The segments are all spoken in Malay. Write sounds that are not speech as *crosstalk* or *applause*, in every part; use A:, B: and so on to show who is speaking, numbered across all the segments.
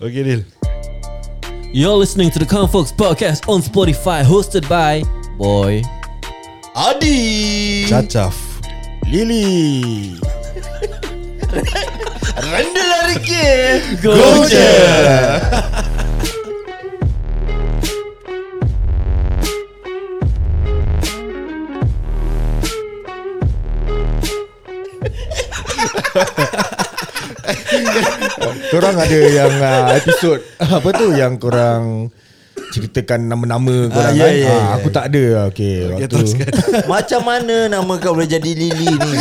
A: Okay Dil
B: You're listening to the Confolks Podcast on Spotify, hosted by Boy.
C: Adi
A: Cacaf
C: Lily ரெண்டு லருக்கு
A: Korang ada yang uh, episod Apa tu yang korang Ceritakan nama-nama korang
C: ya,
A: kan Ah,
C: ya, ya.
A: Aku tak ada Okay, okay waktu
D: teruskan.
C: *laughs* Macam mana nama kau boleh jadi Lily ni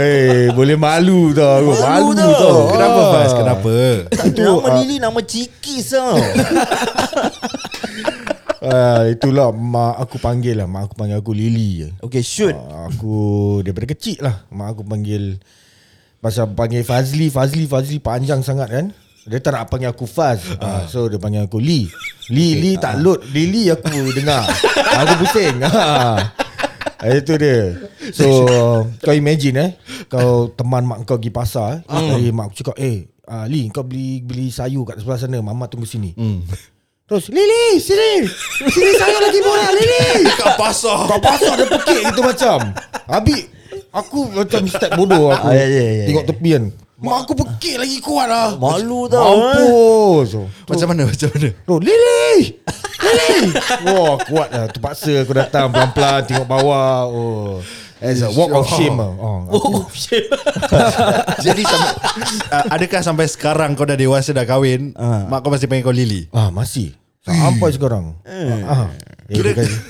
A: Eh, boleh malu tau aku.
C: Malu
A: Malu,
C: tau.
A: tau.
D: Kenapa
A: Ah.
D: Faiz? Kenapa?
A: Itu,
C: Nama
A: ah,
C: Lily nama Cikis tau
A: ah, itulah mak aku panggil lah. Mak aku panggil aku Lily je.
C: Okay shoot
A: Ah, aku daripada kecil lah mak aku panggil pasal panggil Fazli, Fazli, Fazli panjang sangat kan. Dia tak nak panggil aku Faz. Ah, so dia panggil aku Lee. Lee, Lee tak load. Lily aku dengar. aku pusing. Ah. Ah, Itu dia So Kau imagine eh Kau teman mak kau pergi pasar eh. Hari mak aku cakap Eh ah, Lee kau beli beli sayur kat sebelah sana Mama tunggu sini Terus Lily sini Sini sayur lagi murah Lily
D: Kat pasar
A: kau pasok dia pekik gitu macam Habis Aku macam step bodoh aku
C: Ah, ya, ya, ya,
A: Tengok
C: ya.
A: tepi kan Mak aku pekik lagi kuat lah
C: Malu tau eh.
A: Mampus
D: Macam mana? Macam mana?
A: Bro Lily Lily Wah kuat lah Terpaksa aku datang pelan-pelan Tengok bawah Oh As a walk of shame lah. oh,
B: Oh,
A: aku-
B: shit.
D: Jadi sampai, *laughs* uh, adakah sampai sekarang kau dah dewasa dah kahwin, uh. mak kau masih panggil kau Lily?
A: Ah masih Sampai sekarang ah, ah. Eh,
D: Kira-
A: dia kata-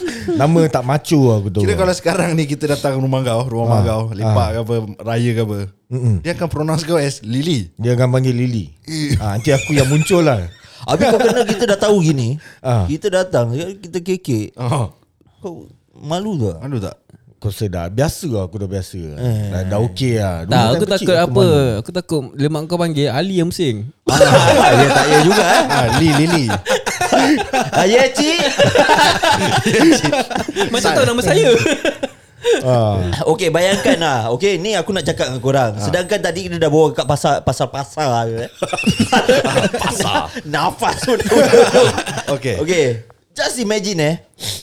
A: *laughs* Nama tak macu lah aku tu
D: Kira kalau sekarang ni kita datang rumah kau, rumah mak kau, lepak ke apa, raya ke apa, dia akan pronounce kau as Lily.
A: Dia akan panggil Lily
D: Eh.
A: ah, Nanti aku yang muncul lah
C: Habis kau kena kita dah tahu gini
A: Ah.
C: Kita datang ya, Kita kekek
D: Oh,
C: Kau malu tak?
D: malu tak?
A: Kau sedar Biasa lah aku dah biasa eh. Dah, dah okey lah Dulu
B: Tak,
A: time
B: aku
A: kecil
B: takut apa.
A: malu.
B: Aku takut lemak kau panggil Ali yang *laughs* pusing.
C: Ya tak ya juga eh
D: Ah, Li, Lily.
C: Ah, Ya cik *laughs*
B: Macam tahu nama saya.
A: ah.
C: Okay bayangkan lah Okay ni aku nak cakap dengan korang Sedangkan tadi kita dah bawa kat pasar Pasar-pasar je, eh. Pasar Nafas pun
D: Okay. okay.
C: Okay Just imagine eh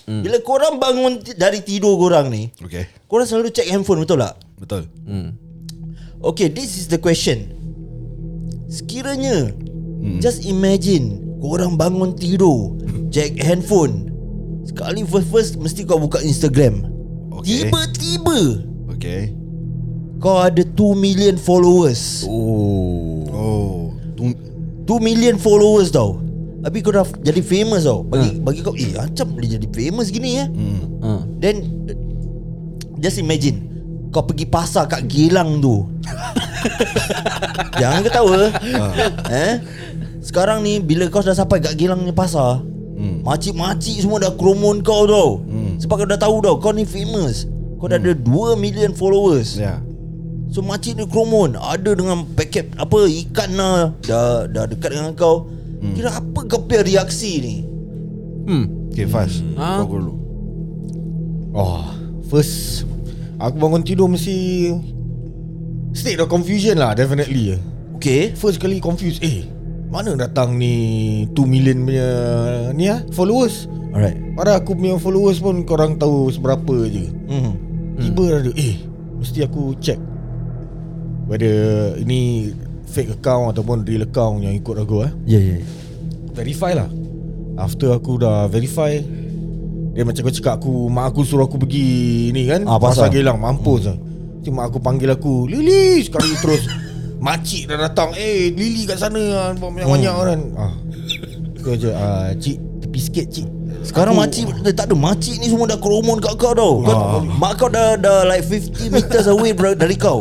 C: Bila korang bangun ti- dari tidur korang ni
D: Okay.
C: Korang selalu check handphone betul tak?
D: Betul.
B: Hmm.
C: Okay this is the question Sekiranya Just imagine Korang bangun tidur Check handphone Sekali first-first Mesti kau buka Instagram
D: Okay.
C: Tiba-tiba
D: Okay.
C: Kau ada 2 million followers
D: Oh. Tung,
C: 2 million followers tau Habis kau dah jadi famous tau Bagi, bagi kau Eh macam boleh jadi famous gini ya
B: Hmm.
C: Then eh, Just imagine Kau pergi pasar kat Gilang *laughs* tu Jangan ketawa eh? Sekarang ni Bila kau dah sampai kat Gilang ni pasar Hmm. Makcik-makcik semua dah kerumun kau tau Sebab kau dah tahu tau Kau ni famous Kau dah ada 2 million followers
D: Ya.
C: So makcik ni kerumun Ada dengan paket Apa ikan lah Dah, dah dekat dengan kau hmm. Kira apa kau punya reaksi ni
B: Hmm.
D: Okay, Faz.
B: Ah.
D: Kau dulu.
A: Oh First Aku bangun tidur mesti State of confusion lah Definitely
C: Okay
A: First kali confused Eh Mana datang ni 2 million punya Ni lah Followers
C: Alright
A: Padahal aku punya followers pun Korang tahu seberapa je
C: hmm.
A: Tiba ada Eh Mesti aku check Whether Ini Fake account Ataupun real account Yang ikut aku eh
C: Ya yeah, ya yeah.
A: verify lah After aku dah verify Dia macam kau cakap aku Mak aku suruh aku pergi ni kan
C: Ah,
A: Pasar
C: pasar.
A: Gelang Mampus lah Nanti mak aku panggil aku Lily Sekali
C: *laughs*
A: terus Makcik dah datang Eh Lily kat sana lah, Nampak
C: Hmm.
A: banyak-banyak kan ah. Kau je ah, Cik Tepi sikit cik
C: Sekarang makcik eh, Tak ada makcik ni semua dah kerumun kat kau tau ah. Mak kau dah, dah like 50 meters away bro- dari kau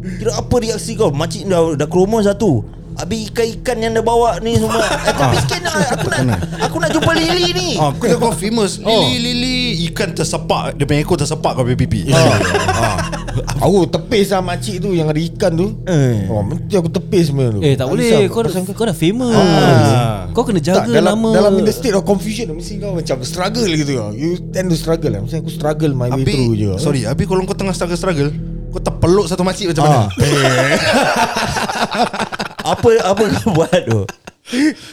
C: Kira apa reaksi kau Makcik ni dah, dah kerumun satu Habis ikan-ikan yang dia bawa ni
D: *laughs*
C: semua Eh tapi sikit nak Aku nak Aku nak jumpa Lily ni
D: Ah, kau kau famous. Lily, Lily, ikan tersepak. Dia punya ekor tersepak kau punya pipi.
A: *laughs*
D: *laughs*
A: Aku tepis lah makcik tu Yang ada ikan tu
C: Eh.
A: oh, Mesti aku tepis semua tu
B: Eh, tak boleh.
A: bisa.
B: Kau dah, kau dah famous.
D: Ah.
B: Kau kena
A: tak,
B: jaga
A: dalam,
B: nama.
A: dalam in the state of confusion Mesti kau macam struggle gitu You tend to struggle lah Mesti aku struggle my way
D: Abi,
A: through je
D: sorry, Abi kalau kau tengah struggle-struggle, Kau terpeluk satu makcik macam
C: Ah.
D: mana?
C: Apa apa kau buat tu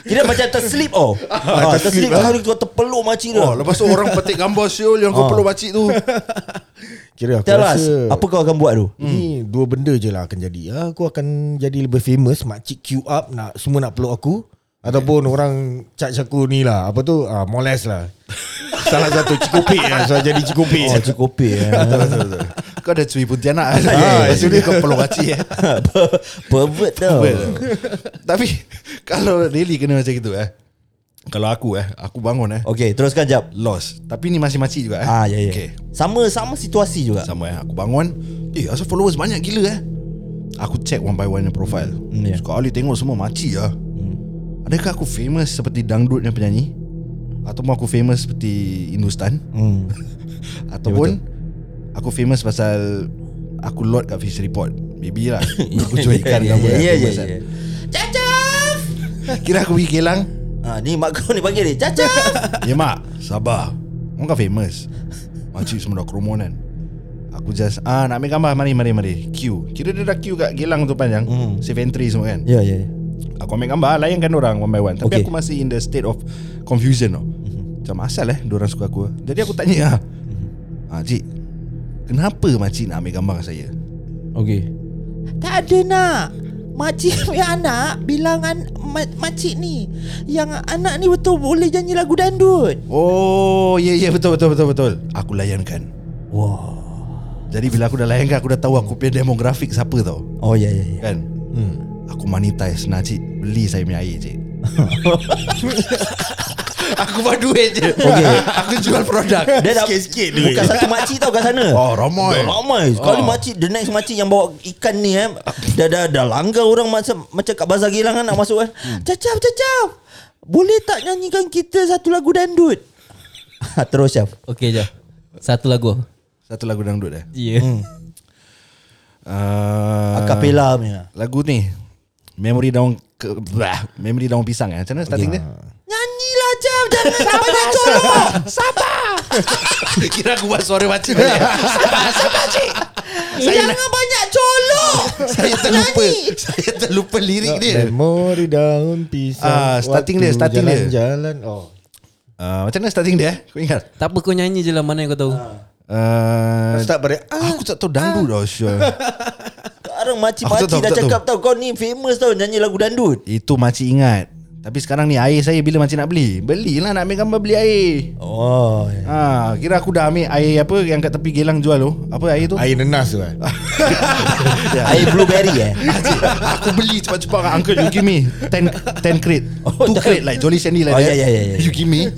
C: Kira macam terslip oh. Ha, terslip
A: terslip,
C: kau kau terpeluk makcik tu.
D: Ah,
C: *laughs*
D: lah. Oh, lepas tu orang petik gambar siul yang
C: Ah.
D: kau peluk makcik tu.
A: Kira aku
C: Tell us
A: rasa
C: Apa Hmm. kau akan buat tu
D: Hmm. *laughs*
A: Ni dua benda je lah akan jadi Ah, Aku akan jadi lebih famous Makcik queue up nak Semua nak peluk aku Ataupun orang Charge aku ni lah Apa tu ah, Molest
C: *laughs*
A: lah Salah satu cikupik lah So jadi cikupik
C: Oh cukupi
A: *laughs*
C: eh.
D: Betul, betul, betul. Kau dah curi pontianak kan?
C: yeah,
D: Ha, Itu dia kau peluk makcik eh.
C: Per- Pervert tau
D: Tapi *laughs* kalau really kena macam gitu eh. Kalau aku eh, aku bangun eh.
C: Okay teruskan jap
D: Lost. Tapi ni masih makcik juga eh.
C: Ah ya ya
D: Okay.
C: Sama sama situasi juga
D: Sama eh Aku bangun Eh asal followers banyak gila eh Aku check one by one yang profile
C: Hmm, ya. Hmm.
D: yeah. Sekali tengok semua makcik lah Adakah aku famous seperti dangdut yang penyanyi Ataupun aku famous seperti Hindustan
C: Hmm. Ya,
D: Ataupun Aku famous pasal Aku lot kat fish report Maybe
C: *laughs*
D: lah Aku jual ikan
C: Ya
D: ke apa lah,
C: ya ya
D: famous
C: ya.
D: kan.
C: Cacaf
D: Kira aku pergi Kelang
C: Ah ni mak kau ni panggil dia Cacaf
D: *laughs* Ya mak Sabar Orang kan famous Makcik semua dah kerumunan kan Aku just ah Nak ambil gambar Mari mari mari Queue Kira dia dah queue kat gelang tu panjang
C: Hmm.
D: mm. Safe entry semua kan
C: *laughs* Ya ya ya.
D: Aku ambil gambar Layankan orang one by one Tapi
C: Okay.
D: okay. aku masih in the state of Confusion tau Macam asal eh Diorang suka aku Jadi aku tanya ah, ah Cik Kenapa makcik nak ambil gambar dengan saya
B: Okay
E: Tak ada nak Makcik *laughs* punya anak Bilang an, ma, makcik ni Yang anak ni betul boleh nyanyi lagu dandut
D: Oh Ya yeah, ya yeah, betul betul betul betul Aku layankan
C: Wah
D: Jadi bila aku dah layankan Aku dah tahu aku punya demografik siapa tau
C: Oh ya ya ya.
D: Kan hmm. Aku monetize Nah cik Beli saya punya air cik *laughs* Aku buat duit je okay. *laughs* Aku jual produk
C: Dia dah sikit-sikit Bukan satu makcik tau kat sana
D: Oh ramai
C: Dah ramai Sekali makcik The next makcik yang bawa ikan ni eh Dah, dah, dah langgar orang macam, macam kat bazar gilang kan nak masuk kan Cacap cacap Boleh tak nyanyikan kita satu lagu dandut Terus Syaf
B: Okay jap Satu lagu
D: Satu lagu dangdut dah
B: Ya yeah.
D: uh,
C: Akapela punya
D: Lagu ni Memory daun ke, bah, Memory daun pisang eh Macam mana starting dia?
E: Nyanyilah Jam
C: *laughs*
E: Jangan sampai colok Sabar
D: *laughs* Kira aku buat suara makcik balik Sabar sabar cik Saya,
E: Jangan banyak colok
D: *laughs* saya terlupa Saya terlupa lirik dia
A: Memori daun pisang
D: Ah, starting dia,
A: waktu
D: starting dia.
A: Jalan-jalan Oh
D: uh, Macam mana starting dia eh? Kau ingat?
B: Tak apa kau nyanyi je lah Mana yang kau tahu
D: Uh,
A: Start pada ah,
D: aku tak tahu dangdut tau Syul
C: Sekarang
D: Aku tak
C: makcik-makcik
D: tahu,
C: dah
D: tak
C: cakap tau Kau ni famous tau nyanyi lagu dandut
D: Itu makcik ingat Tapi sekarang ni air saya bila makcik nak beli Belilah nak ambil gambar beli air
C: Oh
D: Ha, kira aku dah ambil air apa yang kat tepi gelang jual tu Apa air tu?
A: Air nenas tu kan
C: *laughs* Air blueberry eh
D: *laughs* aku beli cepat-cepat kat uncle you give me 10 10 crate.
C: *laughs* Oh,
D: Two
C: dah.
D: crate like Jolly Sandy
C: Oh,
D: like that.
C: ya, ya, ya, ya.
D: You give me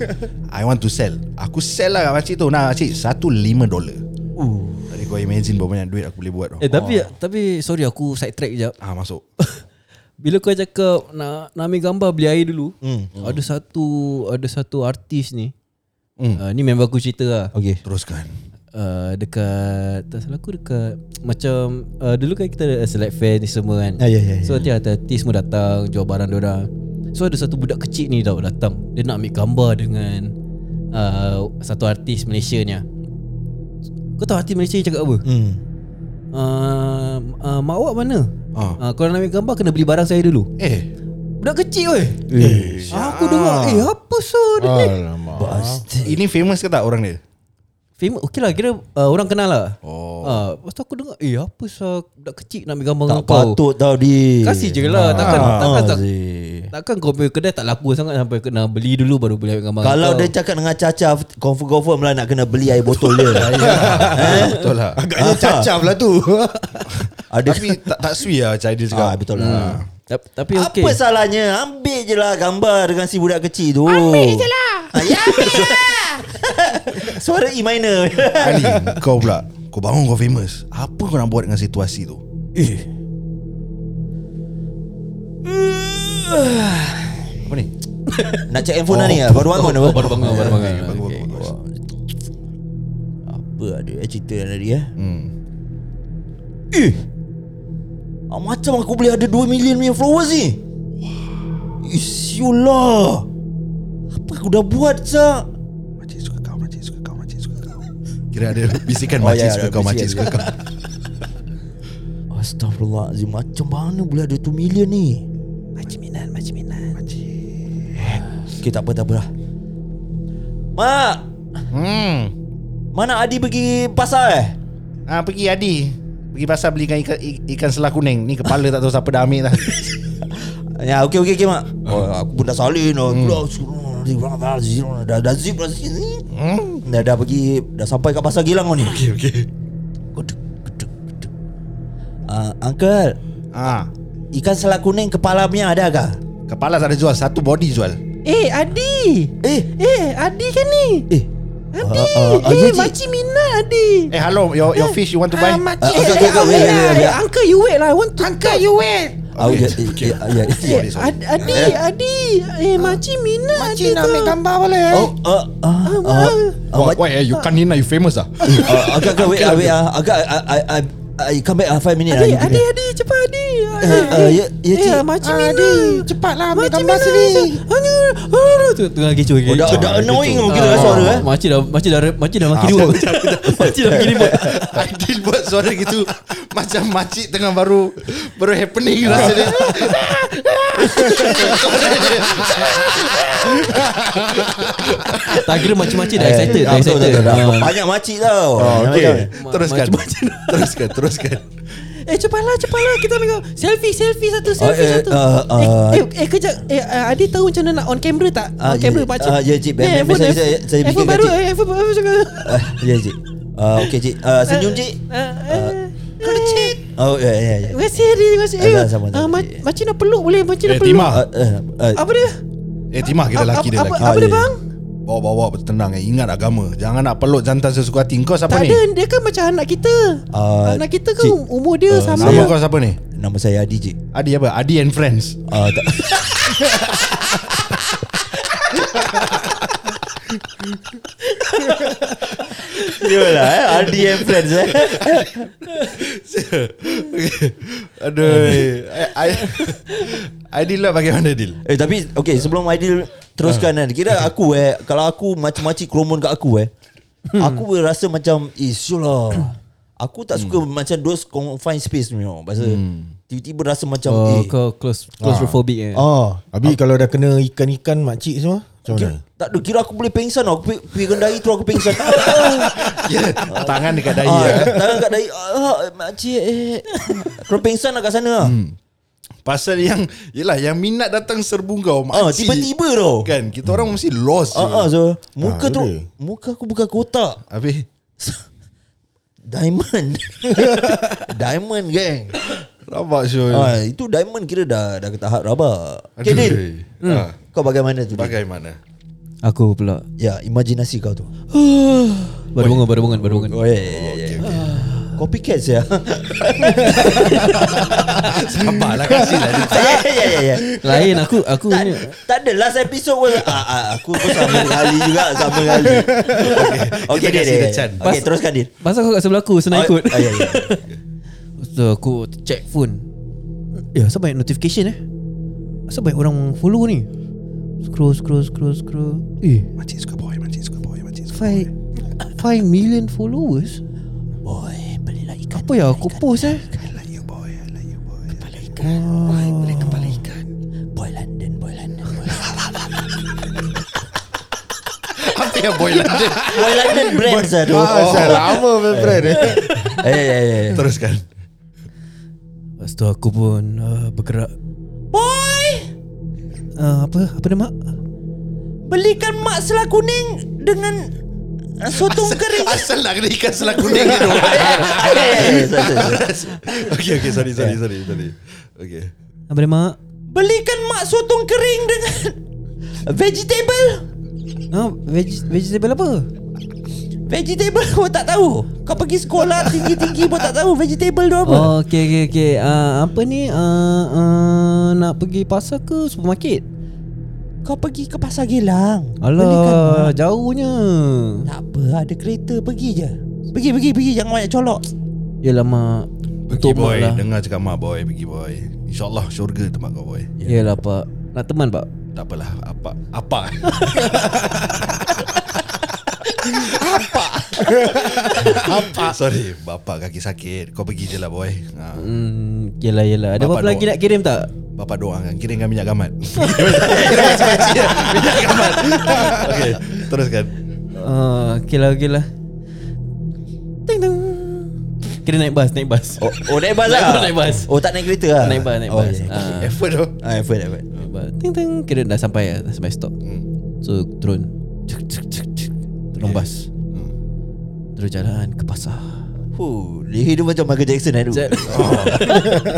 D: I want to sell. Aku sell lah kat makcik tu. Nah makcik satu lima dolar.
C: uh.
D: Tadi kau imagine berapa banyak duit aku boleh buat tau.
B: Eh tapi Tapi sorry aku side track jap
D: Ah masuk.
B: *laughs* Bila kau cakap nak, nak ambil gambar beli air dulu hmm. Ada satu Ada satu artis ni hmm. uh, Ni member aku cerita lah
C: Okay
D: Teruskan.
B: uh, Dekat Tak salah aku dekat Macam uh, Dulu kan kita ada select fair ni semua kan
C: Ah, ya, ya, ya.
B: So nanti artis semua datang Jual barang diorang So ada satu budak kecil ni tau datang Dia nak ambil gambar dengan uh, Satu artis Malaysia ni lah. Kau tahu artis Malaysia ni cakap apa?
C: hmm.
B: Uh, uh, mak awak mana?
D: Ah.
B: Uh, kalau nak ambil gambar kena beli barang saya dulu
D: Eh,
B: Budak kecil weh. Eh, aku dengar eh apa so
C: Ah.
B: dia ni?
A: Alamak
D: ini famous ke tak orang dia?
C: Eh,
B: Famous okay lah kira uh, orang kenal lah.
D: Oh.
B: Ah, lepas tu aku dengar eh apa so budak kecil nak ambil gambar
C: Tak
B: dengan kau.
C: patut tau dia
B: Kasih je lah takkan
C: Ah,
B: takkan tak,
C: Zee.
B: takkan kau punya kedai tak laku sangat sampai kena beli dulu baru boleh ambil gambar.
C: Kalau
B: kau.
C: dia cakap dengan Caca Confirm confirm lah Nak kena beli air botol dia Eh?
D: Betul lah.
A: Agaknya
C: Ah.
A: cacap lah tu
C: Ada
D: Tapi tak, tak sui lah macam dia
C: *laughs*
D: cakap.
C: ah, Betul lah
B: Ta- tapi okey.
C: Apa salahnya Ambil je lah gambar Dengan si budak kecil tu Ah,
E: Ambil je lah Ya ambil lah
C: *laughs* Suara E minor
D: Ali, kau pula. Kau bangun kau famous. Apa kau nak buat dengan situasi tu? Eh. Apa ni?
C: *laughs* Nak check handphone oh, ni lah Baru bangun apa
B: baru bangun baru bangun.
D: Eh, bagus, bagus, bagus.
C: Apa ada eh, cerita yang tadi eh
D: Hmm.
C: Eh ah, Macam aku boleh ada 2 million punya followers ni
E: Ya.
C: Eh siulah Apa aku dah buat Cak
D: Makcik suka kau, makcik suka kau, makcik suka kau. Kira ada bisikan
C: Oh,
D: makcik
C: ya,
D: suka
C: ada
D: kau, makcik
C: bisikan.
D: suka kau.
C: Astagfirullahalazim Macam mana boleh ada 2 million ni
B: Macam minat, macam minat.
C: Okay tak apa tak apa lah Mak
D: *laughs* Hmm.
C: Mana Adi pergi pasar eh
D: Ah pergi Adi. Pergi pasar beli ikan ik- ikan selah kuning. Ni kepala tak tahu siapa dah ambil *laughs* dah.
C: Ya okay okay, okay mak oh, Aku pun dah salin dah Keluar oh, Dah dah zip dah zip Dah dah pergi Dah sampai kat pasar Gilang kau ni Okay okay Keduk keduk keduk Ah, Uncle
D: ah.
C: Ikan salak kuning kepala punya ada ke?
D: Kepala tak ada jual, satu body *laughs* jual.
E: Eh Adi
C: Eh
E: Eh Adi kan ni
C: Eh
E: Adi
C: Ah, ah, ah, ya,
E: Eh
C: cik.
E: makcik Mina Adi
D: Eh hello, your your fish you want to buy?
E: Ah, makcik
C: Ah, okay,
E: eh,
C: okay, okay,
E: eh,
C: wait,
E: wait,
C: wait,
E: lah,
C: wait.
E: eh, Uncle you wait lah I want to Uncle you wait
C: Aku okay, okay. Ya, ya,
E: Eh, Ad- Adi Adi Eh makcik Mina Adi
A: Makcik nak
E: tu
A: ambil gambar boleh eh?
C: Oh, ah, ah, ah, ah,
D: Why, why eh, you can't Nina, you famous ah. *laughs*
C: ah, agak agak wait, ah, wait, ah, agak ah, I, I, I come back ah, five minute
B: Ya,
E: Adi
C: ah,
E: Adi Adi cepat Adi
C: Eh, eh, ya, ya, cik.
E: Eh makcik
A: Ah,
E: Mina
A: Adi, cepatlah ambil
E: Makcik
A: gambar
E: Mina,
A: sini.
E: Adi. Aduh, aduh,
B: Tu tengah kecoh
C: Oh, dah, dah annoying kau kira
B: Ah,
C: suara eh. Ah,
B: Makcik dah Makcik dah Makcik dah maki
C: *laughs*
B: dua Makcik dah maki dua
D: *laughs* Aidil buat suara gitu Macam makcik tengah baru Baru happening rasa dia
B: Tak kira makcik-makcik
E: Eh,
B: dah excited Dah
C: Ah, betul,
B: excited
C: betul, betul, dah.
B: Ah.
C: Banyak makcik tau.
D: ah,
C: Ah,
D: Teruskan Teruskan Teruskan
E: Eh cepatlah cepatlah kita ambil gambar. selfie selfie satu selfie
C: eh,
E: satu.
C: ah,
E: eh,
C: ah.
E: eh, eh kejap eh ah, Adi tahu macam mana nak on camera tak?
C: Ah,
E: on
C: ya,
E: camera
C: ya,
E: macam.
C: ah, ya, cik. Biar- biar saya- saya- saya fikirkan,
E: baru
C: cik.
E: eh iPhone baru cakap.
C: Ah, Ya, cik. Ah, Okey, cik. Ah, Senyum, cik.
E: Ah, ah, Kalau cik
C: Oh, ya, ya, ya.
E: Terima kasih Adi Terima kasih Eh,
C: Ah, sama, sama,
E: ah, ma-
C: cik.
E: Makcik nak peluk boleh Makcik
D: Eh
E: nak peluk
D: Timah
C: Ah, eh, eh,
E: Apa dia?
D: Eh Timah kita
E: Apa-
D: lelaki dia
E: apa-
D: lelaki
E: Apa
C: Ah,
E: dia
C: ya.
E: bang?
D: Bawa-bawa bertenang eh Ingat agama Jangan nak peluk jantan sesuka hati Kau siapa
E: Tak
D: ni?
E: ada Dia kan macam anak kita
C: Ah,
E: Anak kita kan
C: cik.
E: umur dia
C: Ah,
E: sama
D: Nama kau siapa ni?
C: Nama saya Adi, cik.
D: Adi apa? Adi and friends
C: Ah, tak. Yolah eh Adi *laughs* and friends eh
D: Aduh I- Eh, I- *laughs* Aidil lah bagaimana Adil?
C: Eh tapi Okay sebelum Aidil Teruskan kan Kira aku eh Kalau aku macam-macam Keromon kat aku eh Aku boleh rasa macam Eh sure lah Aku tak suka Macam those confined space ni tau Pasal Tiba-tiba rasa macam
B: Oh
C: Eh
B: kau close
E: Ah.
B: Claustrophobic eh
A: Oh, habis kalau dah kena ikan-ikan makcik semua, macam
C: kira,
A: mana?
C: Tak ada Kira aku boleh pengsan tau Aku pergi- pergi kendai tu Aku pengsan *laughs* Ah.
D: Ya, Tangan dekat dahi
C: Ah,
D: ya.
E: eh.
C: Tangan kat dahi ah, Makcik eh. Kena pengsan lah kat sana hmm.
D: Pasal yang Yelah yang minat datang serbu kau
C: ah,
D: makcik.
C: Tiba-tiba tau
D: Kan kita orang mesti lost je.
C: ah, ah, so,
A: Ah,
C: Muka tu
A: boleh.
C: Muka aku bukan kotak
D: Habis *laughs*
C: Diamond Diamond geng
D: Rabak Syul ah,
C: ah, Itu diamond kira dah Dah ke tahap rabak Okay Dil
D: ah,
C: Kau bagaimana tu Dil?
D: Bagaimana
B: Aku pula
C: Ya imajinasi kau tu
B: Baru bangun Baru bangun Baru bangun
C: Oh ya ya ya, ya Copycat ya. saya
D: *laughs* Sabarlah lah, kasihlah dia
C: *laughs* Ya ya ya ya
B: Lain aku Aku
C: tak,
B: ni
C: tak ada last episode pun ah, ah, Aku pun sama kali juga Sama kali Okay, okay,
D: kita kasih
C: okay,
D: dia chance.
C: okay teruskan Din
B: Pasal kau kat sebelah aku
E: Oh,
B: Senang ikut
E: eh.
C: ah, ya, ya.
B: So aku check phone Eh asal banyak notification eh Asal banyak orang follow ni Scroll scroll scroll scroll Eh
D: Makcik suka boy Makcik suka boy Makcik suka
B: Five Five million followers
C: Boy
D: lah
C: belilah ikan
B: Apa yang aku post eh
C: Boy London Boy London Boy London,
D: Apa yang boy London
C: boy London brands lah tu
A: Oh, lama my friend. eh.
C: Eh, eh, eh, eh.
D: *laughs* Teruskan
B: Lepas tu aku pun uh, bergerak
E: Boy
B: uh, Apa Apa nama
E: Belikan mak selah kuning Dengan ah, Sotong kering
D: Asal nak kena ikan selah kuning dia doang.
C: Eh, eh, eh, sorry, sorry.
D: *laughs* Okay okay sorry sorry sorry sorry Okay
B: Apa nama
E: Belikan mak sotong kering Dengan *laughs* Vegetable
B: Ah, veg- vegetable apa?
E: Vegetable pun tak tahu Kau pergi sekolah tinggi-tinggi pun tak tahu Vegetable tu apa
B: Oh, okay, okay, okay. Uh, apa ni?
E: Ah,
B: Uh, uh, nak pergi pasar ke supermarket?
E: Kau pergi ke pasar Gelang
B: Alah, jauhnya.
E: Tak apa ada kereta pergi je Pergi pergi pergi jangan banyak colok
B: Yelah, mak.
D: Pergi
B: Untuk mak
D: boy
B: lah.
D: Dengar cakap mak boy Pergi boy InsyaAllah syurga tempat kau boy
B: Yelah, pak. Nak teman, pak?
D: Tak apalah *laughs* Apa Apa Bapak Sorry Bapak kaki sakit Kau pergi je lah boy ha.
B: Hmm, yelah yelah. Ada
D: Bapak
B: apa lagi
D: doa.
B: nak kirim tak?
D: Bapak doakan Kirimkan kan? minyak gamat *laughs* Kira macam pakcik lah. Minyak gamat *laughs* Okay Teruskan
B: Uh, okay lah okay lah. Ting ting. Kira naik bas, naik bas.
C: Oh, oh naik bas
B: Naik
C: lah
B: bas, naik bas.
C: Oh tak naik kereta lah
B: Naik bas, naik
C: oh,
B: bas.
C: okay.
B: Ah.
D: Effort tu
C: Ah, effort, effort
B: Naik bas. Ting ting. Kira dah sampai eh, dah sampai stop.
D: Hmm.
B: So turun. Cuk cuk cuk cuk. Turun bas.
C: Hmm.
B: Terus jalan ke
C: *laughs*
B: pasar.
C: Huh, leher dia macam Michael Jackson lah tu
B: Jat-
D: oh.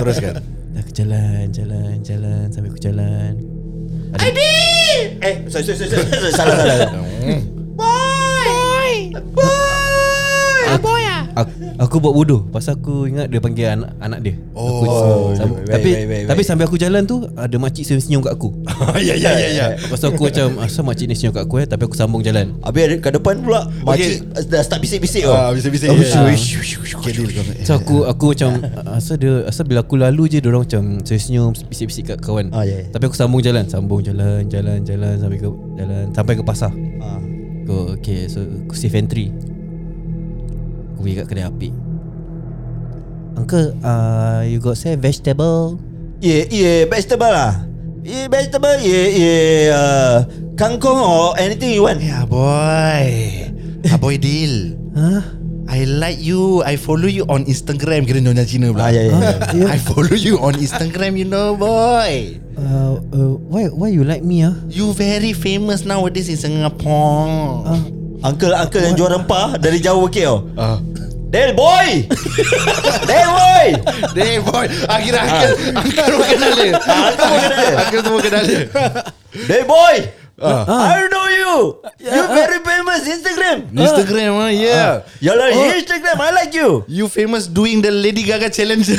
D: Teruskan
B: Dah ke jalan, jalan, jalan sampai aku jalan.
C: Eh, sorry, sorry, sorry, sorry. Salah, salah, salah
E: Ah.
B: Aku, aku buat bodoh pasal aku ingat dia panggil anak, anak dia. Aku,
D: Oh.
B: sam-
C: Baik,
B: tapi
C: ya, baik, baik,
B: tapi
C: baik.
B: sambil aku jalan tu ada makcik senyum-senyum kat aku.
D: Ya ya ya ya
B: Pasal aku macam asal makcik ni senyum kat aku eh tapi aku sambung jalan.
C: Habis ada kat depan pula Makcik dah start bisik-bisik tau
D: Ah, Bisa-bisa
C: Oh,
D: ya.
C: shui,
D: Kedil kau
B: So aku aku macam asal dia asal bila aku lalu je dia orang macam senyum bisik-bisik kat kawan.
C: Ah, ya, ya.
B: Tapi aku sambung jalan, sambung jalan, jalan, jalan sampai ke jalan sampai ke pasar.
C: Ah.
B: Go, okay, so aku safe entry Aku pergi kat kedai api Uncle, uh, you got say vegetable?
C: Yeah, yeah, vegetable lah Yeah, vegetable, yeah, yeah uh, Kangkong or anything you want
D: Ya boy Aboy Dil
B: Huh?
D: I like you I follow you on Instagram Kira nyonya Cina
C: Ah,
D: pula
C: ya, ya, ya.
D: *laughs* I follow you on Instagram you know boy
B: Uh, uh, why why you like me ah?
D: You very famous nowadays in Singapore
B: Uh?
C: Uncle-uncle yang jual rempah Dari jauh okey tau
D: Ah.
C: Del boy *laughs* Del boy
D: *laughs* Dey boy Akhirnya Uncle Uncle *laughs* semua kenal dia
C: Uncle pun kenal dia.
D: Uncle semua kenal dia
C: Del boy
B: Ah.
C: I know you You very famous Instagram
D: Instagram ah yeah
C: You're like
B: Ah.
C: Instagram I like you
D: You famous doing the Lady Gaga challenge